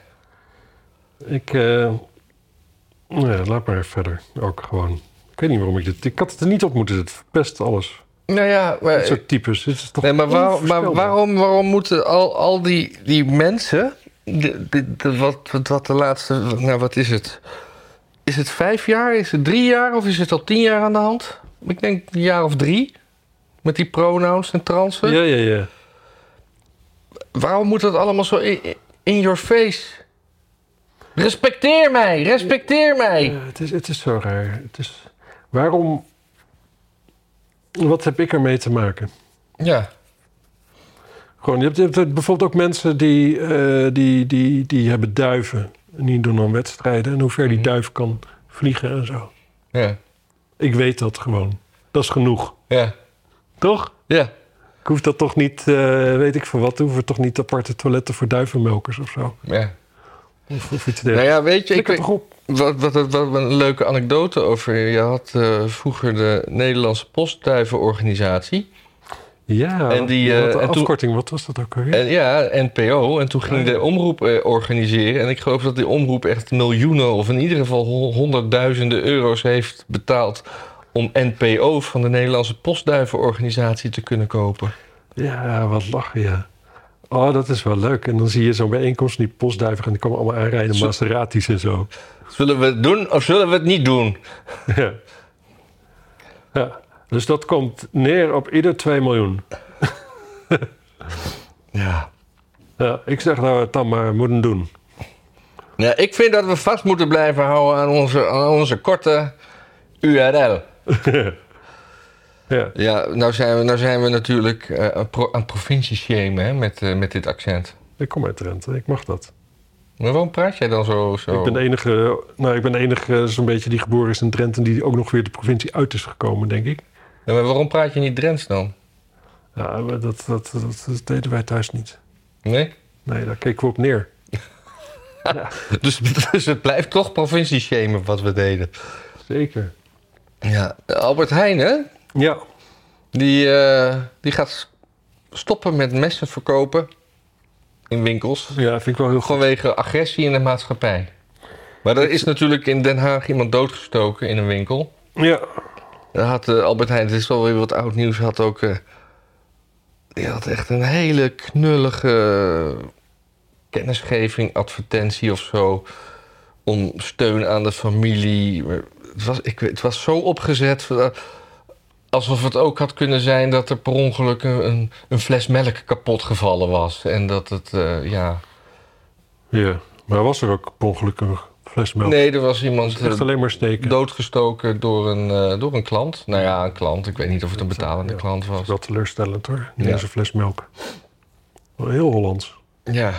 [SPEAKER 2] Ik. eh, nou ja, laat maar even verder. Ook gewoon. Ik weet niet waarom ik dit. Ik had het er niet op moeten zetten. Verpest alles.
[SPEAKER 1] Nou ja,
[SPEAKER 2] Dit
[SPEAKER 1] maar,
[SPEAKER 2] soort types. Dit is toch.
[SPEAKER 1] nee, maar, waar- maar
[SPEAKER 2] onvoorstelbaar.
[SPEAKER 1] waarom, waarom moeten al, al die, die mensen... De, de- de- wat, wat, wat de laatste... Nou, wat is het? Is het vijf jaar? Is het drie jaar? Of is het al tien jaar aan de hand? Ik denk een jaar of drie. Met die pronouns en transen.
[SPEAKER 2] Ja, ja, ja.
[SPEAKER 1] Waarom moet dat allemaal zo i- i- in your face? Respecteer mij, respecteer mij.
[SPEAKER 2] Ja, het, is, het is zo raar. Het is. Waarom. Wat heb ik ermee te maken?
[SPEAKER 1] Ja,
[SPEAKER 2] Gewoon, je hebt, je hebt bijvoorbeeld ook mensen die, eh, die, die, die hebben duiven. En die doen dan wedstrijden. En hoe ver die
[SPEAKER 1] Mhm.
[SPEAKER 2] duif kan vliegen en zo.
[SPEAKER 1] ja,
[SPEAKER 2] Ik weet dat gewoon. Dat is genoeg.
[SPEAKER 1] ja,
[SPEAKER 2] Toch?
[SPEAKER 1] ja.
[SPEAKER 2] Ik hoef dat toch niet, eh, weet ik voor wat, hoeven we toch niet aparte toiletten voor duivenmelkers of zo.
[SPEAKER 1] ja.
[SPEAKER 2] Of, of iets
[SPEAKER 1] Nou
[SPEAKER 2] dergelijks.
[SPEAKER 1] ja, weet je, ik,
[SPEAKER 2] Flikker
[SPEAKER 1] weet-
[SPEAKER 2] toch op.
[SPEAKER 1] wat, wat, wat, wat een leuke anekdote over. Je had eh, vroeger de Nederlandse postduivenorganisatie.
[SPEAKER 2] Ja,
[SPEAKER 1] En die,
[SPEAKER 2] wat
[SPEAKER 1] eh,
[SPEAKER 2] een
[SPEAKER 1] en toen-
[SPEAKER 2] afkorting, wat was dat ook alweer?
[SPEAKER 1] En ja, NPO. En toen ging de omroep eh, organiseren. En ik geloof dat die omroep echt miljoenen of in ieder geval hon- honderdduizenden euro's heeft betaald. om NPO van de Nederlandse postduivenorganisatie te kunnen kopen.
[SPEAKER 2] Ja, wat lachen, ja. Oh, dat is wel leuk. En dan zie je zo'n bijeenkomst, die postduiven, en die komen allemaal aanrijden,
[SPEAKER 1] Zo-
[SPEAKER 2] Maseratis en zo.
[SPEAKER 1] Zullen we het doen of zullen we het niet doen?
[SPEAKER 2] Ja. ja. Dus dat komt neer op ieder 2 miljoen.
[SPEAKER 1] Ja.
[SPEAKER 2] Ja, ik zeg dat we het dan maar moeten doen.
[SPEAKER 1] ja. Ik vind dat we vast moeten blijven houden aan onze, aan onze korte URL.
[SPEAKER 2] Ja,
[SPEAKER 1] Ja, nou zijn we, nou zijn we natuurlijk eh, een pro- aan provincieshame hè, met, eh, met dit accent.
[SPEAKER 2] ik kom uit Drenthe, ik mag dat.
[SPEAKER 1] Maar waarom praat jij dan zo? zo?
[SPEAKER 2] Ik ben de enige, nou, ik ben de enige zo'n beetje die geboren is in Drenthe... en die ook nog weer de provincie uit is gekomen, denk ik.
[SPEAKER 1] Ja, maar waarom praat je niet Drents dan?
[SPEAKER 2] Ja, maar dat, dat, dat, dat deden wij thuis niet.
[SPEAKER 1] Nee?
[SPEAKER 2] Nee, daar keken we op neer.
[SPEAKER 1] Dus, dus het blijft toch provincieshame wat we deden.
[SPEAKER 2] Zeker.
[SPEAKER 1] Ja. Albert Heijn, hè?
[SPEAKER 2] Ja,
[SPEAKER 1] Die, eh, die gaat stoppen met messen verkopen in winkels.
[SPEAKER 2] ja vind ik wel heel goed.
[SPEAKER 1] Vanwege agressie in de maatschappij. Maar er is natuurlijk in Den Haag iemand doodgestoken in een winkel.
[SPEAKER 2] Ja,
[SPEAKER 1] Daar had eh, Albert Heijn, het is wel weer wat oud nieuws, had ook... eh, die had echt een hele knullige kennisgeving, advertentie of zo... om steun aan de familie. Maar Het was, ik, weet- het was zo opgezet... eh, alsof het ook had kunnen zijn dat er per ongeluk een, een, een fles melk kapot gevallen was. En dat het, eh, ja...
[SPEAKER 2] ja. maar was er ook per ongeluk een fles melk?
[SPEAKER 1] Nee, er was iemand...
[SPEAKER 2] Echt
[SPEAKER 1] eh,
[SPEAKER 2] alleen maar steken.
[SPEAKER 1] Doodgestoken door een, eh, door een klant. Nou ja, een klant. Ik weet niet of het een betalende
[SPEAKER 2] Ja.
[SPEAKER 1] klant was.
[SPEAKER 2] Dat is wel teleurstellend hoor.
[SPEAKER 1] Ja.
[SPEAKER 2] Deze fles melk. Wel Heel Hollands.
[SPEAKER 1] Ja.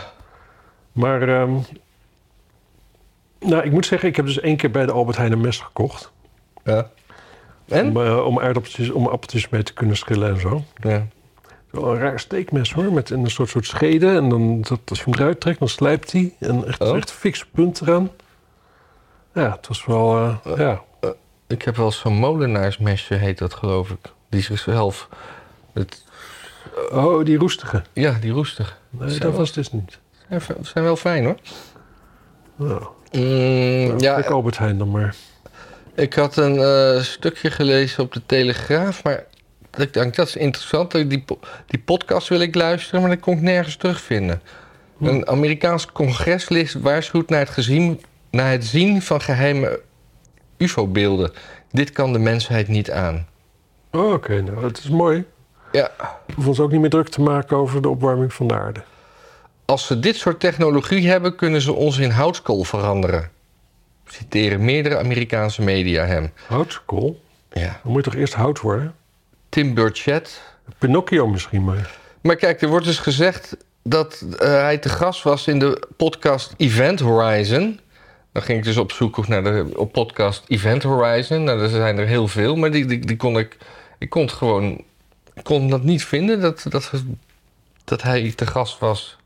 [SPEAKER 2] Maar ehm, nou, ik moet zeggen, ik heb dus één keer bij de Albert Heijn een mes gekocht.
[SPEAKER 1] Ja. En?
[SPEAKER 2] Om, eh, om aardappeltjes, om appeltjes mee te kunnen schillen en zo.
[SPEAKER 1] Ja.
[SPEAKER 2] Wel een raar steekmes hoor, met een soort, soort schede. En dan, dat, als je hem eruit trekt, dan slijpt hij. En echt,
[SPEAKER 1] Oh.
[SPEAKER 2] echt fiks punt eraan. Ja, het was wel, eh, ja.
[SPEAKER 1] Ik heb wel eens zo'n molenaarsmesje, heet dat geloof ik. Die zichzelf... Het,
[SPEAKER 2] Oh, die roestige.
[SPEAKER 1] ja, die roestig.
[SPEAKER 2] Nee,
[SPEAKER 1] Zo.
[SPEAKER 2] dat was dus niet.
[SPEAKER 1] Zijn, ve- zijn wel fijn hoor.
[SPEAKER 2] Nou,
[SPEAKER 1] Mm,
[SPEAKER 2] ik
[SPEAKER 1] ja,
[SPEAKER 2] Albert Heijn dan maar.
[SPEAKER 1] ik had een eh, stukje gelezen op de Telegraaf, maar ik denk dat is interessant. Die, po- die podcast wil ik luisteren, maar dat kon ik nergens terugvinden. Een Amerikaans congreslid waarschuwt naar het, gezien, naar het zien van geheime UFO-beelden. Dit kan de mensheid niet aan.
[SPEAKER 2] Oh, Oké, nou, het is mooi.
[SPEAKER 1] Ja,
[SPEAKER 2] We hoeven ons ook niet meer druk te maken over de opwarming van de aarde.
[SPEAKER 1] Als ze dit soort technologie hebben, kunnen ze ons in houtskool veranderen. Citeren meerdere Amerikaanse media hem.
[SPEAKER 2] Houtskool?
[SPEAKER 1] Ja.
[SPEAKER 2] Dan moet je toch eerst hout worden?
[SPEAKER 1] Tim Burchett.
[SPEAKER 2] Pinocchio misschien maar.
[SPEAKER 1] Maar kijk, er wordt dus gezegd dat eh, hij te gast was in de podcast Event Horizon. Dan ging ik dus op zoek naar de op podcast Event Horizon. Nou, er zijn er heel veel, maar die, die, die kon ik... Ik kon het gewoon... Ik kon dat niet vinden, dat, dat, dat hij te gast was.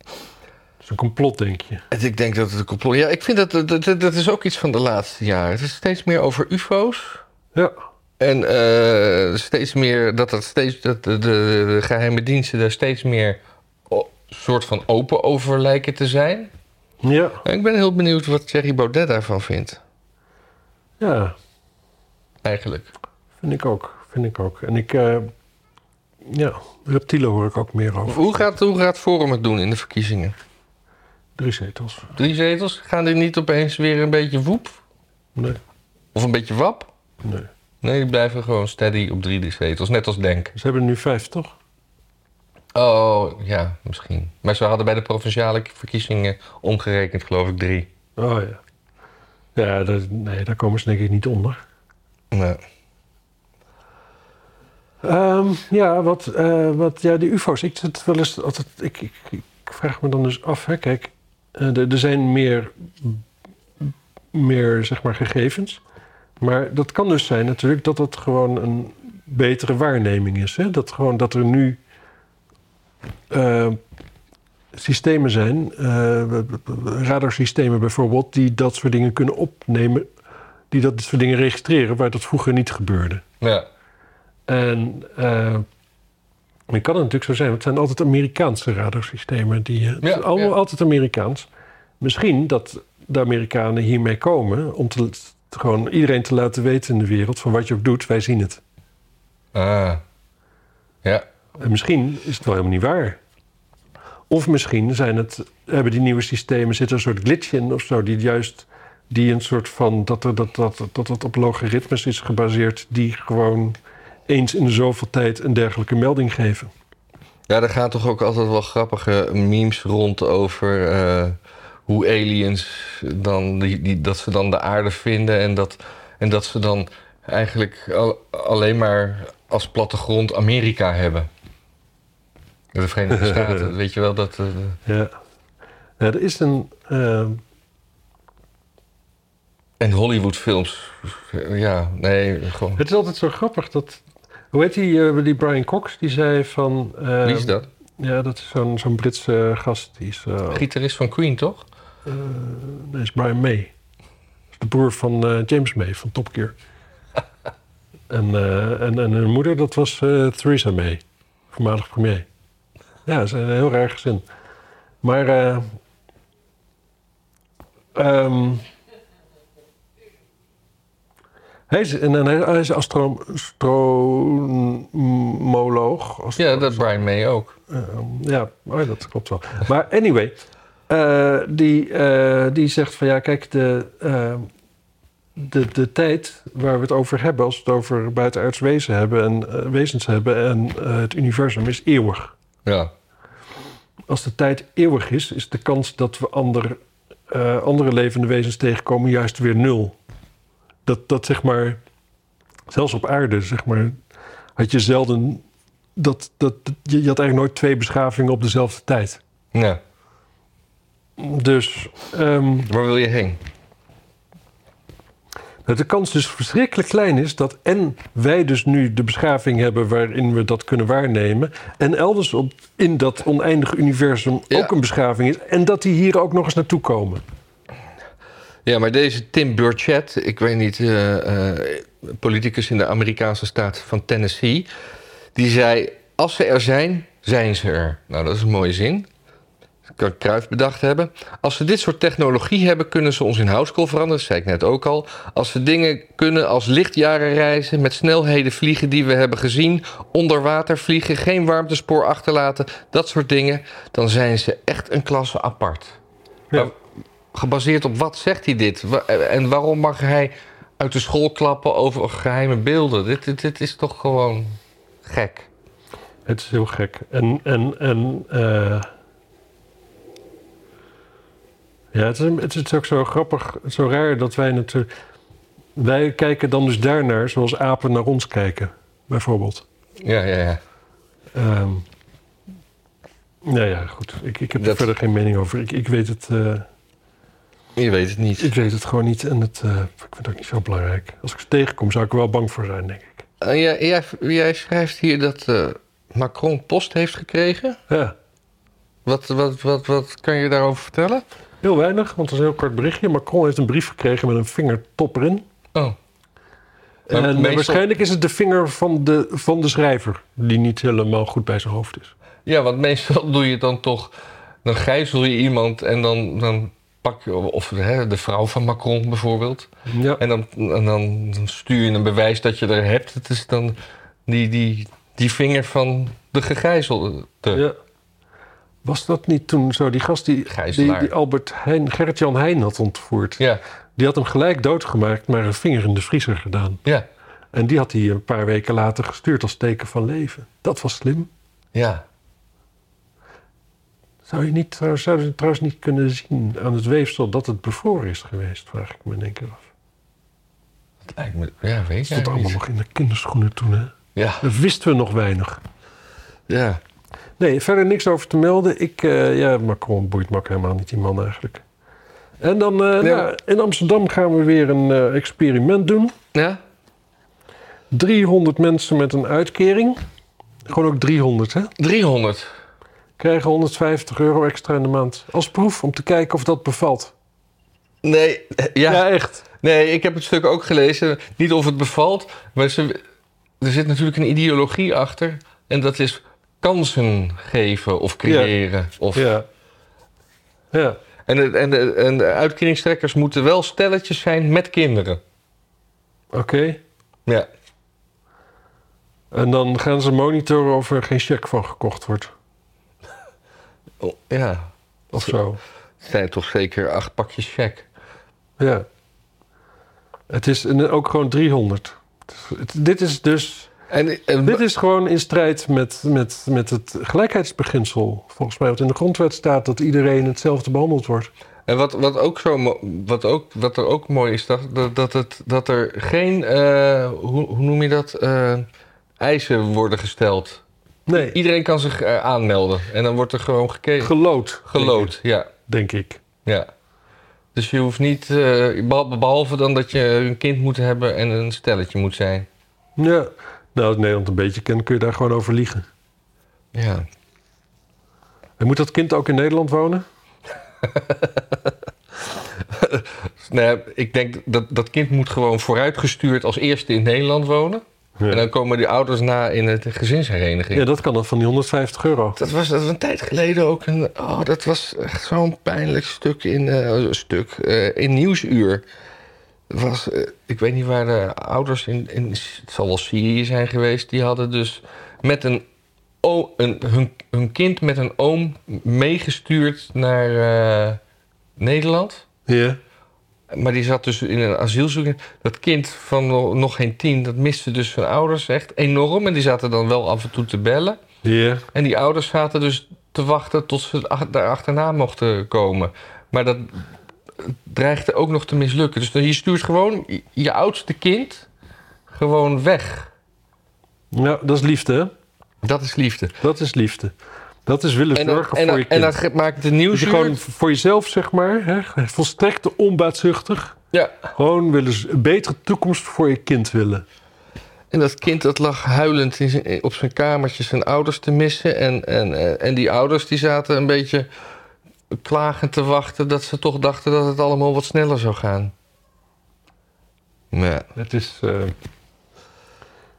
[SPEAKER 2] Het is een complot, denk je.
[SPEAKER 1] Het- Ik denk dat het een complot... Ja, ik vind dat, dat, dat, dat is ook iets van de laatste jaren. Het is steeds meer over ufo's.
[SPEAKER 2] Ja,
[SPEAKER 1] En eh, steeds meer dat, dat, steeds, dat de, de, de geheime diensten daar steeds meer o- soort van open over lijken te zijn.
[SPEAKER 2] ja,
[SPEAKER 1] En ik ben heel benieuwd wat Thierry Baudet daarvan vindt,
[SPEAKER 2] ja.
[SPEAKER 1] eigenlijk.
[SPEAKER 2] Vind ik ook, vind ik ook. En ik, eh, ja, reptielen hoor ik ook meer over.
[SPEAKER 1] Hoe gaat, hoe gaat Forum het doen in de verkiezingen?
[SPEAKER 2] Drie zetels.
[SPEAKER 1] Drie zetels? Gaan die niet opeens weer een beetje woep?
[SPEAKER 2] Nee,
[SPEAKER 1] Of een beetje wap?
[SPEAKER 2] nee.
[SPEAKER 1] Nee, die blijven gewoon steady op drie zetels, net als Denk.
[SPEAKER 2] Ze hebben er nu vijf, toch?
[SPEAKER 1] Oh, ja, misschien. Maar ze hadden bij de provinciale verkiezingen omgerekend, geloof ik, drie.
[SPEAKER 2] Oh ja. Ja, dat, nee, daar komen ze denk ik niet onder.
[SPEAKER 1] Ja.
[SPEAKER 2] Ehm, ja, wat, eh, wat, ja, die UFO's. Ik, zit wel eens, altijd, ik, ik, ik vraag me dan dus af, hè, kijk, eh, er er zijn meer, meer zeg maar, gegevens. Maar dat kan dus zijn natuurlijk dat dat gewoon een betere waarneming is. Hè? Dat, gewoon, dat er nu eh, systemen zijn, eh, radarsystemen bijvoorbeeld, die dat soort dingen kunnen opnemen, die dat soort dingen registreren waar dat vroeger niet gebeurde.
[SPEAKER 1] ja.
[SPEAKER 2] En eh dan kan het natuurlijk zo zijn, want het zijn altijd Amerikaanse radarsystemen. Die, eh, het
[SPEAKER 1] Ja,
[SPEAKER 2] is allemaal
[SPEAKER 1] ja.
[SPEAKER 2] altijd Amerikaans. Misschien dat de Amerikanen hiermee komen om te, te gewoon iedereen te laten weten in de wereld van wat je ook doet, wij zien het.
[SPEAKER 1] Ah. Ja.
[SPEAKER 2] En misschien is het wel helemaal niet waar. Of misschien zijn het, hebben die nieuwe systemen, zit er een soort glitch in of zo, die juist die een soort van dat er, dat, dat, dat, dat op logaritmes is gebaseerd, die gewoon eens in de zoveel tijd een dergelijke melding geven.
[SPEAKER 1] Ja, er gaan toch ook altijd wel grappige memes rond over eh, hoe aliens dan die, die, dat ze dan de aarde vinden en dat, en dat ze dan eigenlijk al- alleen maar als plattegrond Amerika hebben. De Verenigde Staten, weet je wel dat. eh,
[SPEAKER 2] Ja. Nou, er is een. eh,
[SPEAKER 1] en Hollywoodfilms. Ja, nee, gewoon.
[SPEAKER 2] het is altijd zo grappig dat. Hoe heet die, eh, die Brian Cox? Die zei van. eh,
[SPEAKER 1] Wie is dat?
[SPEAKER 2] Ja, dat is zo'n zo'n Britse gast. Die is, eh,
[SPEAKER 1] Gitarist van Queen, toch?
[SPEAKER 2] eh, nee, is Brian May. Dat is de broer van eh, James May van Top Gear. en, eh, en, en hun moeder, dat was eh, Theresa May, voormalig premier. Ja, ze zijn een heel raar gezin. Maar. eh, ehm, hij is, en, en hij hij is astro- astromoloog. Astro-
[SPEAKER 1] Ja, dat Brian May ook.
[SPEAKER 2] eh, ja, oh, dat klopt wel. Maar anyway, eh, die, eh, die zegt van ja, kijk, de, eh, de, de tijd waar we het over hebben, als we het over buitenaards wezen hebben en, eh, wezens hebben en eh, het universum, is eeuwig.
[SPEAKER 1] Ja.
[SPEAKER 2] Als de tijd eeuwig is, is de kans dat we ander, eh, andere levende wezens tegenkomen juist weer nul. Dat, dat zeg maar, zelfs op aarde, zeg maar, had je zelden. Dat, dat, je, je had eigenlijk nooit twee beschavingen op dezelfde tijd.
[SPEAKER 1] ja.
[SPEAKER 2] Dus ehm,
[SPEAKER 1] Waar wil je heen?
[SPEAKER 2] dat de kans dus verschrikkelijk klein is dat en wij dus nu de beschaving hebben waarin we dat kunnen waarnemen. En elders op, in dat oneindige universum
[SPEAKER 1] Ja.
[SPEAKER 2] ook een beschaving is. En dat die hier ook nog eens naartoe komen.
[SPEAKER 1] Ja, maar deze Tim Burchett, ik weet niet, eh, eh, politicus in de Amerikaanse staat van Tennessee, die zei: Als ze er zijn, zijn ze er. Nou, dat is een mooie zin. Dat kan Kruif bedacht hebben. Als ze dit soort technologie hebben, kunnen ze ons in houtskool veranderen. Dat zei ik net ook al. Als ze dingen kunnen als lichtjaren reizen, met snelheden vliegen die we hebben gezien, onder water vliegen, geen warmtespoor achterlaten, dat soort dingen, dan zijn ze echt een klasse apart. Gebaseerd op wat zegt hij dit? Wa- En waarom mag hij uit de school klappen over geheime beelden? Dit, dit, dit is toch gewoon gek.
[SPEAKER 2] Het is heel gek. En, en, en eh, ja, het is, een- het is ook zo grappig, zo raar dat wij natuurlijk. Wij kijken dan dus daarnaar zoals apen naar ons kijken, bijvoorbeeld.
[SPEAKER 1] Ja, ja, ja.
[SPEAKER 2] Ehm nou ja, goed. Ik, ik heb
[SPEAKER 1] Dat-
[SPEAKER 2] er verder geen mening over. Ik, ik, weet het, eh,
[SPEAKER 1] Je weet het niet.
[SPEAKER 2] ik weet het gewoon niet. En het, eh, ik vind het ook niet zo belangrijk. Als ik ze tegenkom, zou ik er wel bang voor zijn, denk ik.
[SPEAKER 1] Eh, jij, jij, jij schrijft hier dat eh, Macron post heeft gekregen.
[SPEAKER 2] Ja,
[SPEAKER 1] Wat, wat, wat, wat kan je daarover vertellen?
[SPEAKER 2] heel weinig, want het is een heel kort berichtje. Macron heeft een brief gekregen met een vingertop erin.
[SPEAKER 1] Oh.
[SPEAKER 2] En
[SPEAKER 1] Maar Eh, meestal-
[SPEAKER 2] Eh, waarschijnlijk is het de vinger van de, van de schrijver, die niet helemaal goed bij zijn hoofd is.
[SPEAKER 1] Ja, want meestal doe je het dan toch... Dan gijzel je iemand en dan, dan pak je... Of hè, de vrouw van Macron bijvoorbeeld.
[SPEAKER 2] Ja.
[SPEAKER 1] En dan, en dan dan stuur je een bewijs dat je er hebt. Het is dan die, die, die vinger van de gegijzelde.
[SPEAKER 2] Ja. Was dat niet toen zo? Die gast die, die,
[SPEAKER 1] Gijzelaar.
[SPEAKER 2] die Albert Heijn, Gerrit-Jan Heijn had ontvoerd.
[SPEAKER 1] Ja,
[SPEAKER 2] Die had hem gelijk doodgemaakt, maar een vinger in de vriezer gedaan.
[SPEAKER 1] ja,
[SPEAKER 2] En die had hij een paar weken later gestuurd als teken van leven. Dat was slim.
[SPEAKER 1] ja.
[SPEAKER 2] Zou je niet, trouwens- zou je trouwens niet kunnen zien aan het weefsel dat het bevroren is geweest, vraag ik me in één keer af.
[SPEAKER 1] Het lijkt me, ja, weet
[SPEAKER 2] Het
[SPEAKER 1] je
[SPEAKER 2] stond allemaal nog in de kinderschoenen toen, hè?
[SPEAKER 1] Ja,
[SPEAKER 2] Dat wisten we nog weinig.
[SPEAKER 1] ja.
[SPEAKER 2] Nee, verder niks over te melden. Ik, eh, ja, Macron boeit mak helemaal niet, die man eigenlijk. En dan eh,
[SPEAKER 1] Ja.
[SPEAKER 2] nou, in Amsterdam gaan we weer een eh, experiment doen.
[SPEAKER 1] Ja?
[SPEAKER 2] 300 mensen met een uitkering. Gewoon ook 300, hè?
[SPEAKER 1] 300.
[SPEAKER 2] krijgen 150 euro extra in de maand. Als proef om te kijken of dat bevalt.
[SPEAKER 1] Nee, ja.
[SPEAKER 2] echt.
[SPEAKER 1] nee, ik heb het stuk ook gelezen. Niet of het bevalt, maar ze, er zit natuurlijk een ideologie achter. En dat is kansen geven of creëren. Of,
[SPEAKER 2] Ja. Ja.
[SPEAKER 1] en, de- en, de- en de uitkeringstrekkers moeten wel stelletjes zijn met kinderen.
[SPEAKER 2] Oké.
[SPEAKER 1] Ja.
[SPEAKER 2] En dan gaan ze monitoren of er geen cheque van gekocht wordt.
[SPEAKER 1] Oh, ja,
[SPEAKER 2] Of zo.
[SPEAKER 1] het zijn toch zeker acht pakjes check.
[SPEAKER 2] Ja. Het is en ook gewoon 300. Het is- het- dit is dus
[SPEAKER 1] En, en-
[SPEAKER 2] Dit is gewoon in strijd met, met, met het gelijkheidsbeginsel. Volgens mij wat in de grondwet staat dat iedereen hetzelfde behandeld wordt.
[SPEAKER 1] En wat, wat, ook zo, mo- wat, ook, wat er ook mooi is, dat, dat, dat, het, dat er geen, eh, hoe, hoe noem je dat, Eh, eisen worden gesteld.
[SPEAKER 2] Nee,
[SPEAKER 1] Iedereen kan zich eh, aanmelden en dan wordt er gewoon gekeken.
[SPEAKER 2] gelood.
[SPEAKER 1] Gelood, ja,
[SPEAKER 2] Denk ik.
[SPEAKER 1] ja. Dus je hoeft niet, eh, behal- behalve dan dat je een kind moet hebben en een stelletje moet zijn.
[SPEAKER 2] Ja. Nou, als Nederland een beetje kent, kun je daar gewoon over liegen.
[SPEAKER 1] Ja.
[SPEAKER 2] En moet dat kind ook in Nederland wonen?
[SPEAKER 1] Nee, Nou ik denk dat dat kind moet gewoon vooruitgestuurd als eerste in Nederland wonen.
[SPEAKER 2] Ja,
[SPEAKER 1] En dan komen die ouders na in het gezinshereniging.
[SPEAKER 2] ja dat kan dan van die 150 euro.
[SPEAKER 1] Dat was, dat was een tijd geleden ook een. Oh, dat was echt zo'n pijnlijk stuk in, eh, stuk, eh, in Nieuwsuur. Het Was, eh, ik weet niet waar de ouders in, in. Het zal wel Syrië zijn geweest. Die hadden dus met een. o- een hun, hun kind met een oom meegestuurd naar eh, Nederland.
[SPEAKER 2] Ja.
[SPEAKER 1] Maar die zat dus in een asielzoeking. Dat kind van no- nog geen tien, dat miste dus zijn ouders echt enorm. En die zaten dan wel af en toe te bellen.
[SPEAKER 2] Ja.
[SPEAKER 1] En die ouders zaten dus te wachten tot ze ach- daar achterna mochten komen. Maar dat dreigde ook nog te mislukken. Dus dan- je stuurt gewoon je- je oudste kind gewoon weg.
[SPEAKER 2] Nou, dat is liefde, hè?
[SPEAKER 1] Dat is liefde.
[SPEAKER 2] Dat is liefde. Dat is willen
[SPEAKER 1] En, dat-
[SPEAKER 2] Dus zorgen
[SPEAKER 1] en,
[SPEAKER 2] voor
[SPEAKER 1] dat-
[SPEAKER 2] je
[SPEAKER 1] en
[SPEAKER 2] kind.
[SPEAKER 1] dat ge- maakt de nieuws
[SPEAKER 2] dus je gewoon v- voor jezelf, zeg maar, hè? volstrekt onbaatzuchtig.
[SPEAKER 1] Ja.
[SPEAKER 2] Gewoon willen z- een betere toekomst voor je kind willen.
[SPEAKER 1] En dat kind dat lag huilend in zijn- op zijn kamertje zijn ouders te missen. En, en, eh, en die ouders die zaten een beetje klagend te wachten... dat ze toch dachten dat het allemaal wat sneller zou gaan. Ja,
[SPEAKER 2] Het is, eh,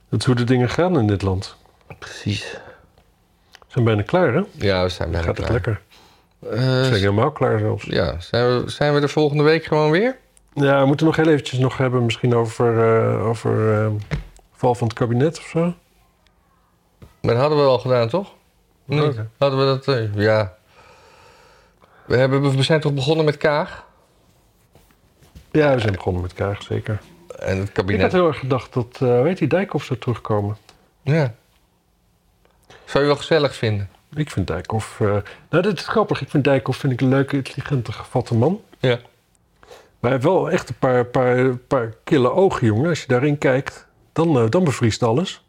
[SPEAKER 2] dat is hoe de dingen gaan in dit land.
[SPEAKER 1] precies.
[SPEAKER 2] We zijn bijna klaar, hè?
[SPEAKER 1] Ja, we zijn bijna
[SPEAKER 2] Gaat het
[SPEAKER 1] klaar.
[SPEAKER 2] lekker? We
[SPEAKER 1] Eh,
[SPEAKER 2] zijn helemaal klaar zelfs.
[SPEAKER 1] ja, zijn we, zijn we er volgende week gewoon weer?
[SPEAKER 2] Ja, we moeten nog heel eventjes nog hebben misschien over, eh, over eh, val van het kabinet of zo.
[SPEAKER 1] Maar dat hadden we al gedaan, toch? Of niet?
[SPEAKER 2] Oké.
[SPEAKER 1] Hadden we dat... eh, ja. We, hebben, we zijn toch begonnen met Kaag?
[SPEAKER 2] Ja, we zijn begonnen met Kaag, zeker.
[SPEAKER 1] En het
[SPEAKER 2] Ik had
[SPEAKER 1] kabinet.
[SPEAKER 2] heel erg gedacht dat, eh hoe heet die, Dijkhoff zou terugkomen.
[SPEAKER 1] Ja. Zou je wel gezellig vinden?
[SPEAKER 2] Ik vind Dijkhoff... eh, nou, dit is grappig. Ik vind Dijkhoff vind ik een leuke, intelligente, gevatte man.
[SPEAKER 1] Ja.
[SPEAKER 2] Maar hij heeft wel echt een paar, paar, paar kille ogen, jongen. Als je daarin kijkt, dan, eh, dan bevriest alles.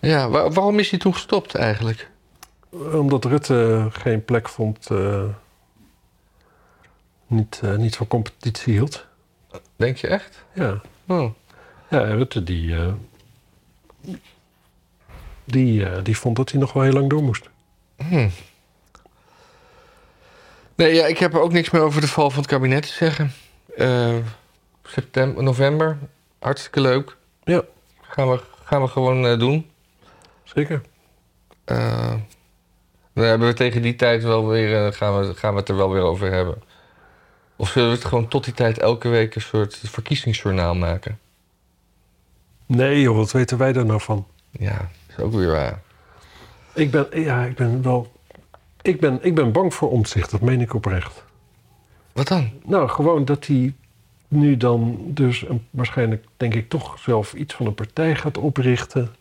[SPEAKER 1] Ja, wa- waarom is hij toen gestopt eigenlijk?
[SPEAKER 2] Omdat Rutte geen plek vond... eh, niet, eh, niet voor competitie hield.
[SPEAKER 1] Denk je echt?
[SPEAKER 2] Ja.
[SPEAKER 1] Oh.
[SPEAKER 2] Ja, en Rutte die, eh, die, eh, die vond dat hij nog wel heel lang door moest.
[SPEAKER 1] Nee, ja, ik heb er ook niks meer over de val van het kabinet te zeggen. Eh, september, november. Hartstikke leuk.
[SPEAKER 2] Ja.
[SPEAKER 1] Gaan we, gaan we gewoon eh, doen.
[SPEAKER 2] Zeker.
[SPEAKER 1] Eh, dan hebben we tegen die tijd wel weer, eh, gaan, we, gaan we het er wel weer over hebben. Of zullen we het gewoon tot die tijd elke week een soort verkiezingsjournaal maken?
[SPEAKER 2] Nee joh, wat weten wij daar nou van?
[SPEAKER 1] Ja, is ook weer waar.
[SPEAKER 2] Ik ben, ja, ik ben wel... Ik ben, ik ben bang voor omzicht, dat meen ik oprecht.
[SPEAKER 1] Wat dan?
[SPEAKER 2] Nou, gewoon dat hij nu dan dus een- waarschijnlijk, denk ik, toch zelf iets van een partij gaat oprichten.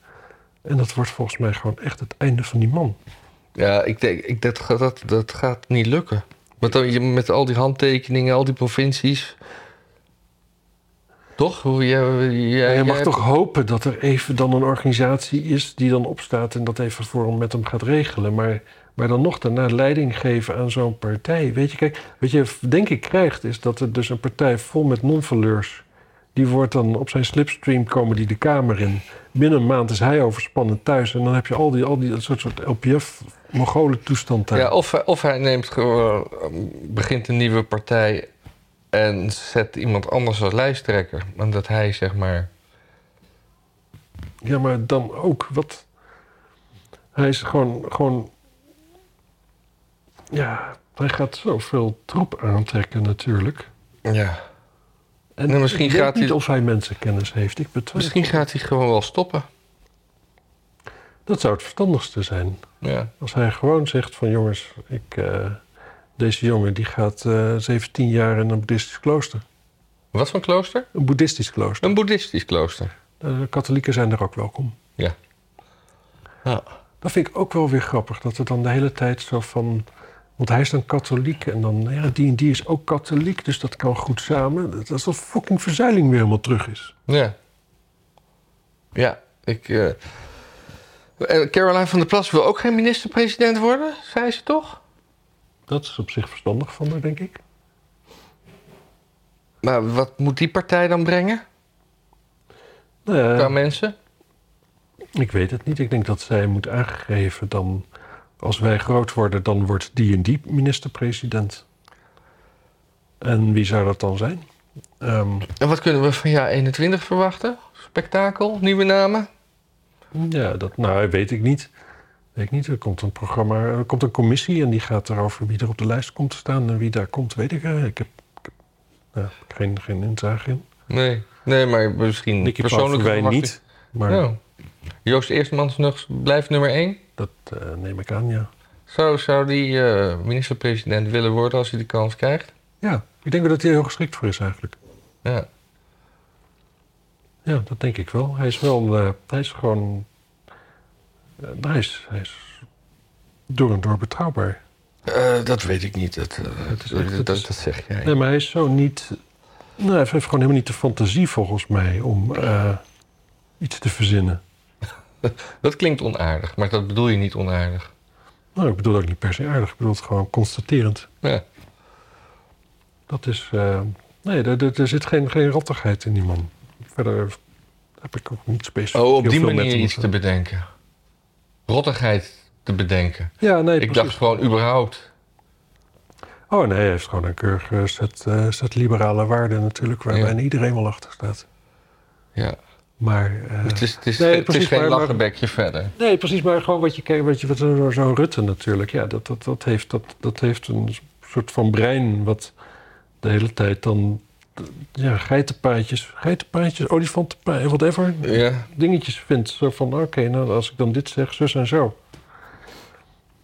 [SPEAKER 2] En dat wordt volgens mij gewoon echt het einde van die man.
[SPEAKER 1] Ja, ik denk, ik, dat, gaat- dat, dat gaat niet lukken. Want dan, je- met al die handtekeningen, al die provincies. Toch? Hoe, jij, jij,
[SPEAKER 2] Maar je mag
[SPEAKER 1] jij-
[SPEAKER 2] toch hopen dat er even dan een organisatie is die dan opstaat en dat even voor hem met hem gaat regelen. Maar, maar dan nog daarna leiding geven aan zo'n partij. Weet je, kijk, wat je v- denk ik krijgt is dat er dus een partij vol met non-valeurs. Die wordt dan op zijn slipstream komen die de Kamer in. Binnen een maand is hij overspannen thuis. En dan heb je al die, al die dat soort, soort LPF-mogolen toestand daar.
[SPEAKER 1] Ja, of, hij- of hij neemt gewoon, eh, begint een nieuwe partij en zet iemand anders als lijsttrekker. En dat hij zeg maar.
[SPEAKER 2] Ja, maar dan ook wat. Hij is gewoon. gewoon ja, hij gaat zoveel troep aantrekken, natuurlijk.
[SPEAKER 1] Ja.
[SPEAKER 2] En
[SPEAKER 1] Nou, misschien
[SPEAKER 2] ik weet
[SPEAKER 1] gaat
[SPEAKER 2] niet
[SPEAKER 1] hij-
[SPEAKER 2] of hij mensenkennis heeft. Ik betwijfel.
[SPEAKER 1] Misschien gaat hij gewoon wel stoppen.
[SPEAKER 2] Dat zou het verstandigste zijn.
[SPEAKER 1] Ja.
[SPEAKER 2] Als hij gewoon zegt: van jongens, ik, eh, deze jongen die gaat eh 17 jaar in een boeddhistisch klooster.
[SPEAKER 1] Wat voor klooster?
[SPEAKER 2] Een boeddhistisch klooster.
[SPEAKER 1] Een boeddhistisch klooster.
[SPEAKER 2] De katholieken zijn er ook welkom.
[SPEAKER 1] Ja. Ja.
[SPEAKER 2] Dat vind ik ook wel weer grappig. Dat er dan de hele tijd zo van... Want hij is dan katholiek en dan... Ja, die en die is ook katholiek, dus dat kan goed samen. Dat is alsof fucking verzuiling weer helemaal terug is.
[SPEAKER 1] Ja. Ja, ik... eh, eh, Caroline van der Plas wil ook geen minister-president worden, zei ze toch?
[SPEAKER 2] Dat is op zich verstandig van haar, denk ik.
[SPEAKER 1] Maar wat moet die partij dan brengen
[SPEAKER 2] Nou ja,
[SPEAKER 1] qua mensen?
[SPEAKER 2] Ik weet het niet. Ik denk dat zij moet aangeven dan... Als wij groot worden, dan wordt die en die minister-president. En wie zou dat dan zijn? Ehm,
[SPEAKER 1] En wat kunnen we van jaar 21 verwachten? Spektakel, nieuwe namen?
[SPEAKER 2] ja, dat nou, weet ik niet. Weet ik niet. Er komt een programma, er komt een commissie en die gaat erover wie er op de lijst komt te staan en wie daar komt, weet ik. eh, Ik heb, ik heb, nou, ik heb geen, geen inzage in.
[SPEAKER 1] Nee, nee maar misschien
[SPEAKER 2] Nicky
[SPEAKER 1] persoonlijke
[SPEAKER 2] wij
[SPEAKER 1] verwachting.
[SPEAKER 2] niet. Maar
[SPEAKER 1] Nou, Joost Eerstmans nog blijft nummer 1.
[SPEAKER 2] dat eh, neem ik aan, ja.
[SPEAKER 1] Zo zou die eh, minister-president willen worden als hij de kans krijgt.
[SPEAKER 2] Ja, ik denk wel dat hij er heel geschikt voor is eigenlijk.
[SPEAKER 1] Ja.
[SPEAKER 2] Ja, dat denk ik wel. Hij is wel, eh, hij is gewoon, eh, hij, is, hij is door en door betrouwbaar.
[SPEAKER 1] Eh, dat weet ik niet. Dat, eh,
[SPEAKER 2] Het is
[SPEAKER 1] dat,
[SPEAKER 2] echt- het
[SPEAKER 1] dat-
[SPEAKER 2] is-
[SPEAKER 1] dat zeg jij.
[SPEAKER 2] Nee, maar hij is zo niet, nou, hij heeft gewoon helemaal niet de fantasie volgens mij om eh, iets te verzinnen.
[SPEAKER 1] Dat klinkt onaardig, maar dat bedoel je niet onaardig.
[SPEAKER 2] Nou, ik bedoel ook niet per se aardig, ik bedoel het gewoon constaterend.
[SPEAKER 1] Ja.
[SPEAKER 2] Dat is, eh, nee, er, er- er zit geen, geen rattigheid in die man. Verder heb ik ook niet specifiek
[SPEAKER 1] Oh, op
[SPEAKER 2] heel
[SPEAKER 1] die
[SPEAKER 2] veel met
[SPEAKER 1] manier
[SPEAKER 2] hem
[SPEAKER 1] iets
[SPEAKER 2] of
[SPEAKER 1] te
[SPEAKER 2] zo.
[SPEAKER 1] bedenken. Rottigheid te bedenken.
[SPEAKER 2] Ja, nee,
[SPEAKER 1] Ik
[SPEAKER 2] precies.
[SPEAKER 1] dacht gewoon überhaupt.
[SPEAKER 2] Oh nee, hij heeft gewoon een keurig eh, set, eh, set liberale waarden natuurlijk, waar
[SPEAKER 1] Ja.
[SPEAKER 2] bijna iedereen wel achter staat.
[SPEAKER 1] Ja.
[SPEAKER 2] Maar, eh,
[SPEAKER 1] Het is, het is,
[SPEAKER 2] nee,
[SPEAKER 1] het is
[SPEAKER 2] precies,
[SPEAKER 1] geen
[SPEAKER 2] maar- maar-
[SPEAKER 1] lachenbekje verder.
[SPEAKER 2] Nee, precies, maar gewoon wat je kijkt, wat je wat zo- zo'n Rutte natuurlijk, ja, dat, dat, dat, heeft, dat, dat heeft een soort van brein wat de hele tijd dan, ja, geitenpaadjes, geitenpaadjes, olifantenpaadjes, whatever,
[SPEAKER 1] Ja.
[SPEAKER 2] dingetjes vindt. Zo van, oké, nou, als ik dan dit zeg, zus en zo.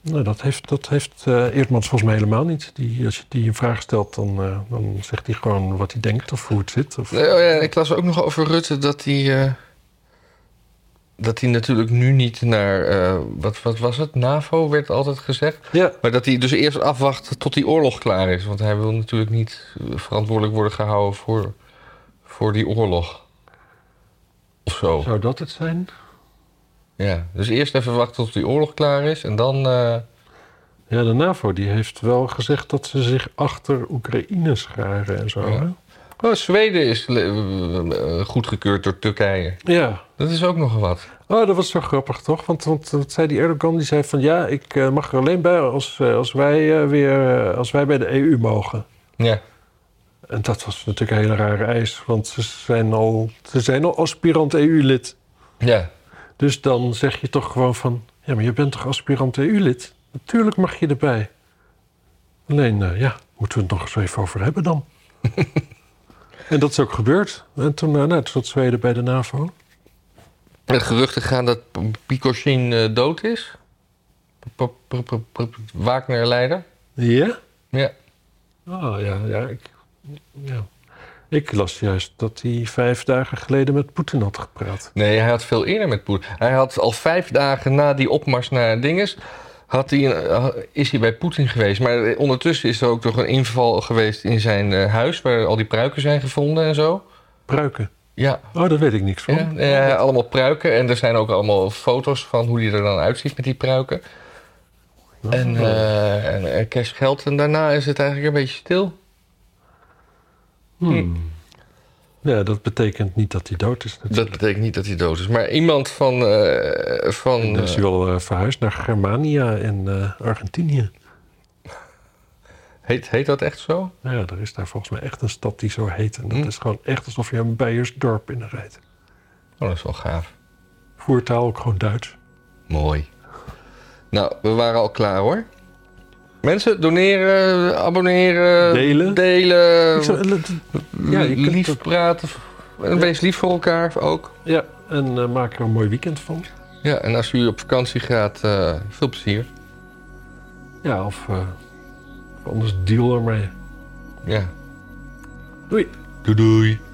[SPEAKER 2] Nou, dat heeft, dat heeft eh, Eertmans volgens mij helemaal niet. Die, als je die een vraag stelt, dan, eh, dan zegt hij gewoon wat hij denkt of hoe het zit. Of,
[SPEAKER 1] Nee, oh ja, ik las ook nog over Rutte dat hij. eh, dat hij natuurlijk nu niet naar. eh, wat, wat was het? NAVO werd altijd gezegd.
[SPEAKER 2] ja,
[SPEAKER 1] Maar dat hij dus eerst afwacht tot die oorlog klaar is. Want hij wil natuurlijk niet eh, verantwoordelijk worden gehouden voor, voor die oorlog. Of zo.
[SPEAKER 2] zou dat het zijn?
[SPEAKER 1] Ja. Dus eerst even wachten tot die oorlog klaar is. En dan. eh,
[SPEAKER 2] Ja, de NAVO die heeft wel gezegd dat ze zich achter Oekraïne scharen en zo.
[SPEAKER 1] Ja.
[SPEAKER 2] hè?
[SPEAKER 1] oh, Zweden is le- eh, eh, goedgekeurd door Turkije.
[SPEAKER 2] ja.
[SPEAKER 1] Dat is ook nog wat.
[SPEAKER 2] Oh, dat was zo grappig, toch? Want, want wat zei die Erdogan, die zei van... ja, ik eh, mag er alleen bij als, eh, als, wij, eh, weer, eh, als wij bij de EU mogen.
[SPEAKER 1] Ja.
[SPEAKER 2] En dat was natuurlijk een hele rare eis, want ze zijn al, ze zijn al aspirant E EU-lid.
[SPEAKER 1] Ja.
[SPEAKER 2] Dus dan zeg je toch gewoon van, ja, maar je bent toch aspirant EU-lid? Natuurlijk mag je erbij. Alleen, eh, ja, moeten we het nog eens even over hebben dan. en dat is ook gebeurd. En toen, eh, nou, toen zat Zweden bij de NAVO.
[SPEAKER 1] Het geruchten gaan dat Picochin eh, dood is. P- p- p- p- Wagner-leider.
[SPEAKER 2] Ja?
[SPEAKER 1] Ja.
[SPEAKER 2] Oh, ja, ja, ik, ja. Ik las juist dat hij vijf dagen geleden met Poetin had gepraat.
[SPEAKER 1] Nee, hij had veel eerder met Poetin. Hij had al vijf dagen na die opmars naar Dinges... Had hij een- eh, is hij bij Poetin geweest. Maar ondertussen is er ook nog een inval geweest in zijn eh, huis... waar al die pruiken zijn gevonden en zo.
[SPEAKER 2] Pruiken.
[SPEAKER 1] Ja,
[SPEAKER 2] Oh, daar weet ik niks van.
[SPEAKER 1] ja, eh, allemaal pruiken. En er zijn ook allemaal foto's van hoe hij er dan uitziet met die pruiken. En, eh, en eh, cash geld. En daarna is het eigenlijk een beetje stil.
[SPEAKER 2] Hmm. Ja, dat betekent niet dat hij dood is.
[SPEAKER 1] Dat betekent niet dat hij dood is. Maar iemand van... eh, van
[SPEAKER 2] Dan is hij wel eh, verhuisd naar Germania en eh, Argentinië.
[SPEAKER 1] eh, heet, heet dat echt zo?
[SPEAKER 2] Nou ja, er is daar volgens mij echt een stad die zo heet. En dat
[SPEAKER 1] Hmm.
[SPEAKER 2] is gewoon echt alsof je een Beiersdorp binnenrijdt.
[SPEAKER 1] Oh, dat is wel gaaf.
[SPEAKER 2] Voertaal ook gewoon Duits.
[SPEAKER 1] Mooi. Nou, we waren al klaar hoor. Mensen, doneren, abonneren,
[SPEAKER 2] Delen.
[SPEAKER 1] delen
[SPEAKER 2] Ik zou- dat- ja, je kunt
[SPEAKER 1] lief
[SPEAKER 2] ook-
[SPEAKER 1] praten. En wees lief voor elkaar ook.
[SPEAKER 2] ja, en eh, maak er een mooi weekend van.
[SPEAKER 1] Ja, en als u op vakantie gaat, eh, veel plezier.
[SPEAKER 2] Ja, of, eh, of anders deal ermee.
[SPEAKER 1] Ja.
[SPEAKER 2] Doei.
[SPEAKER 1] Doei doei.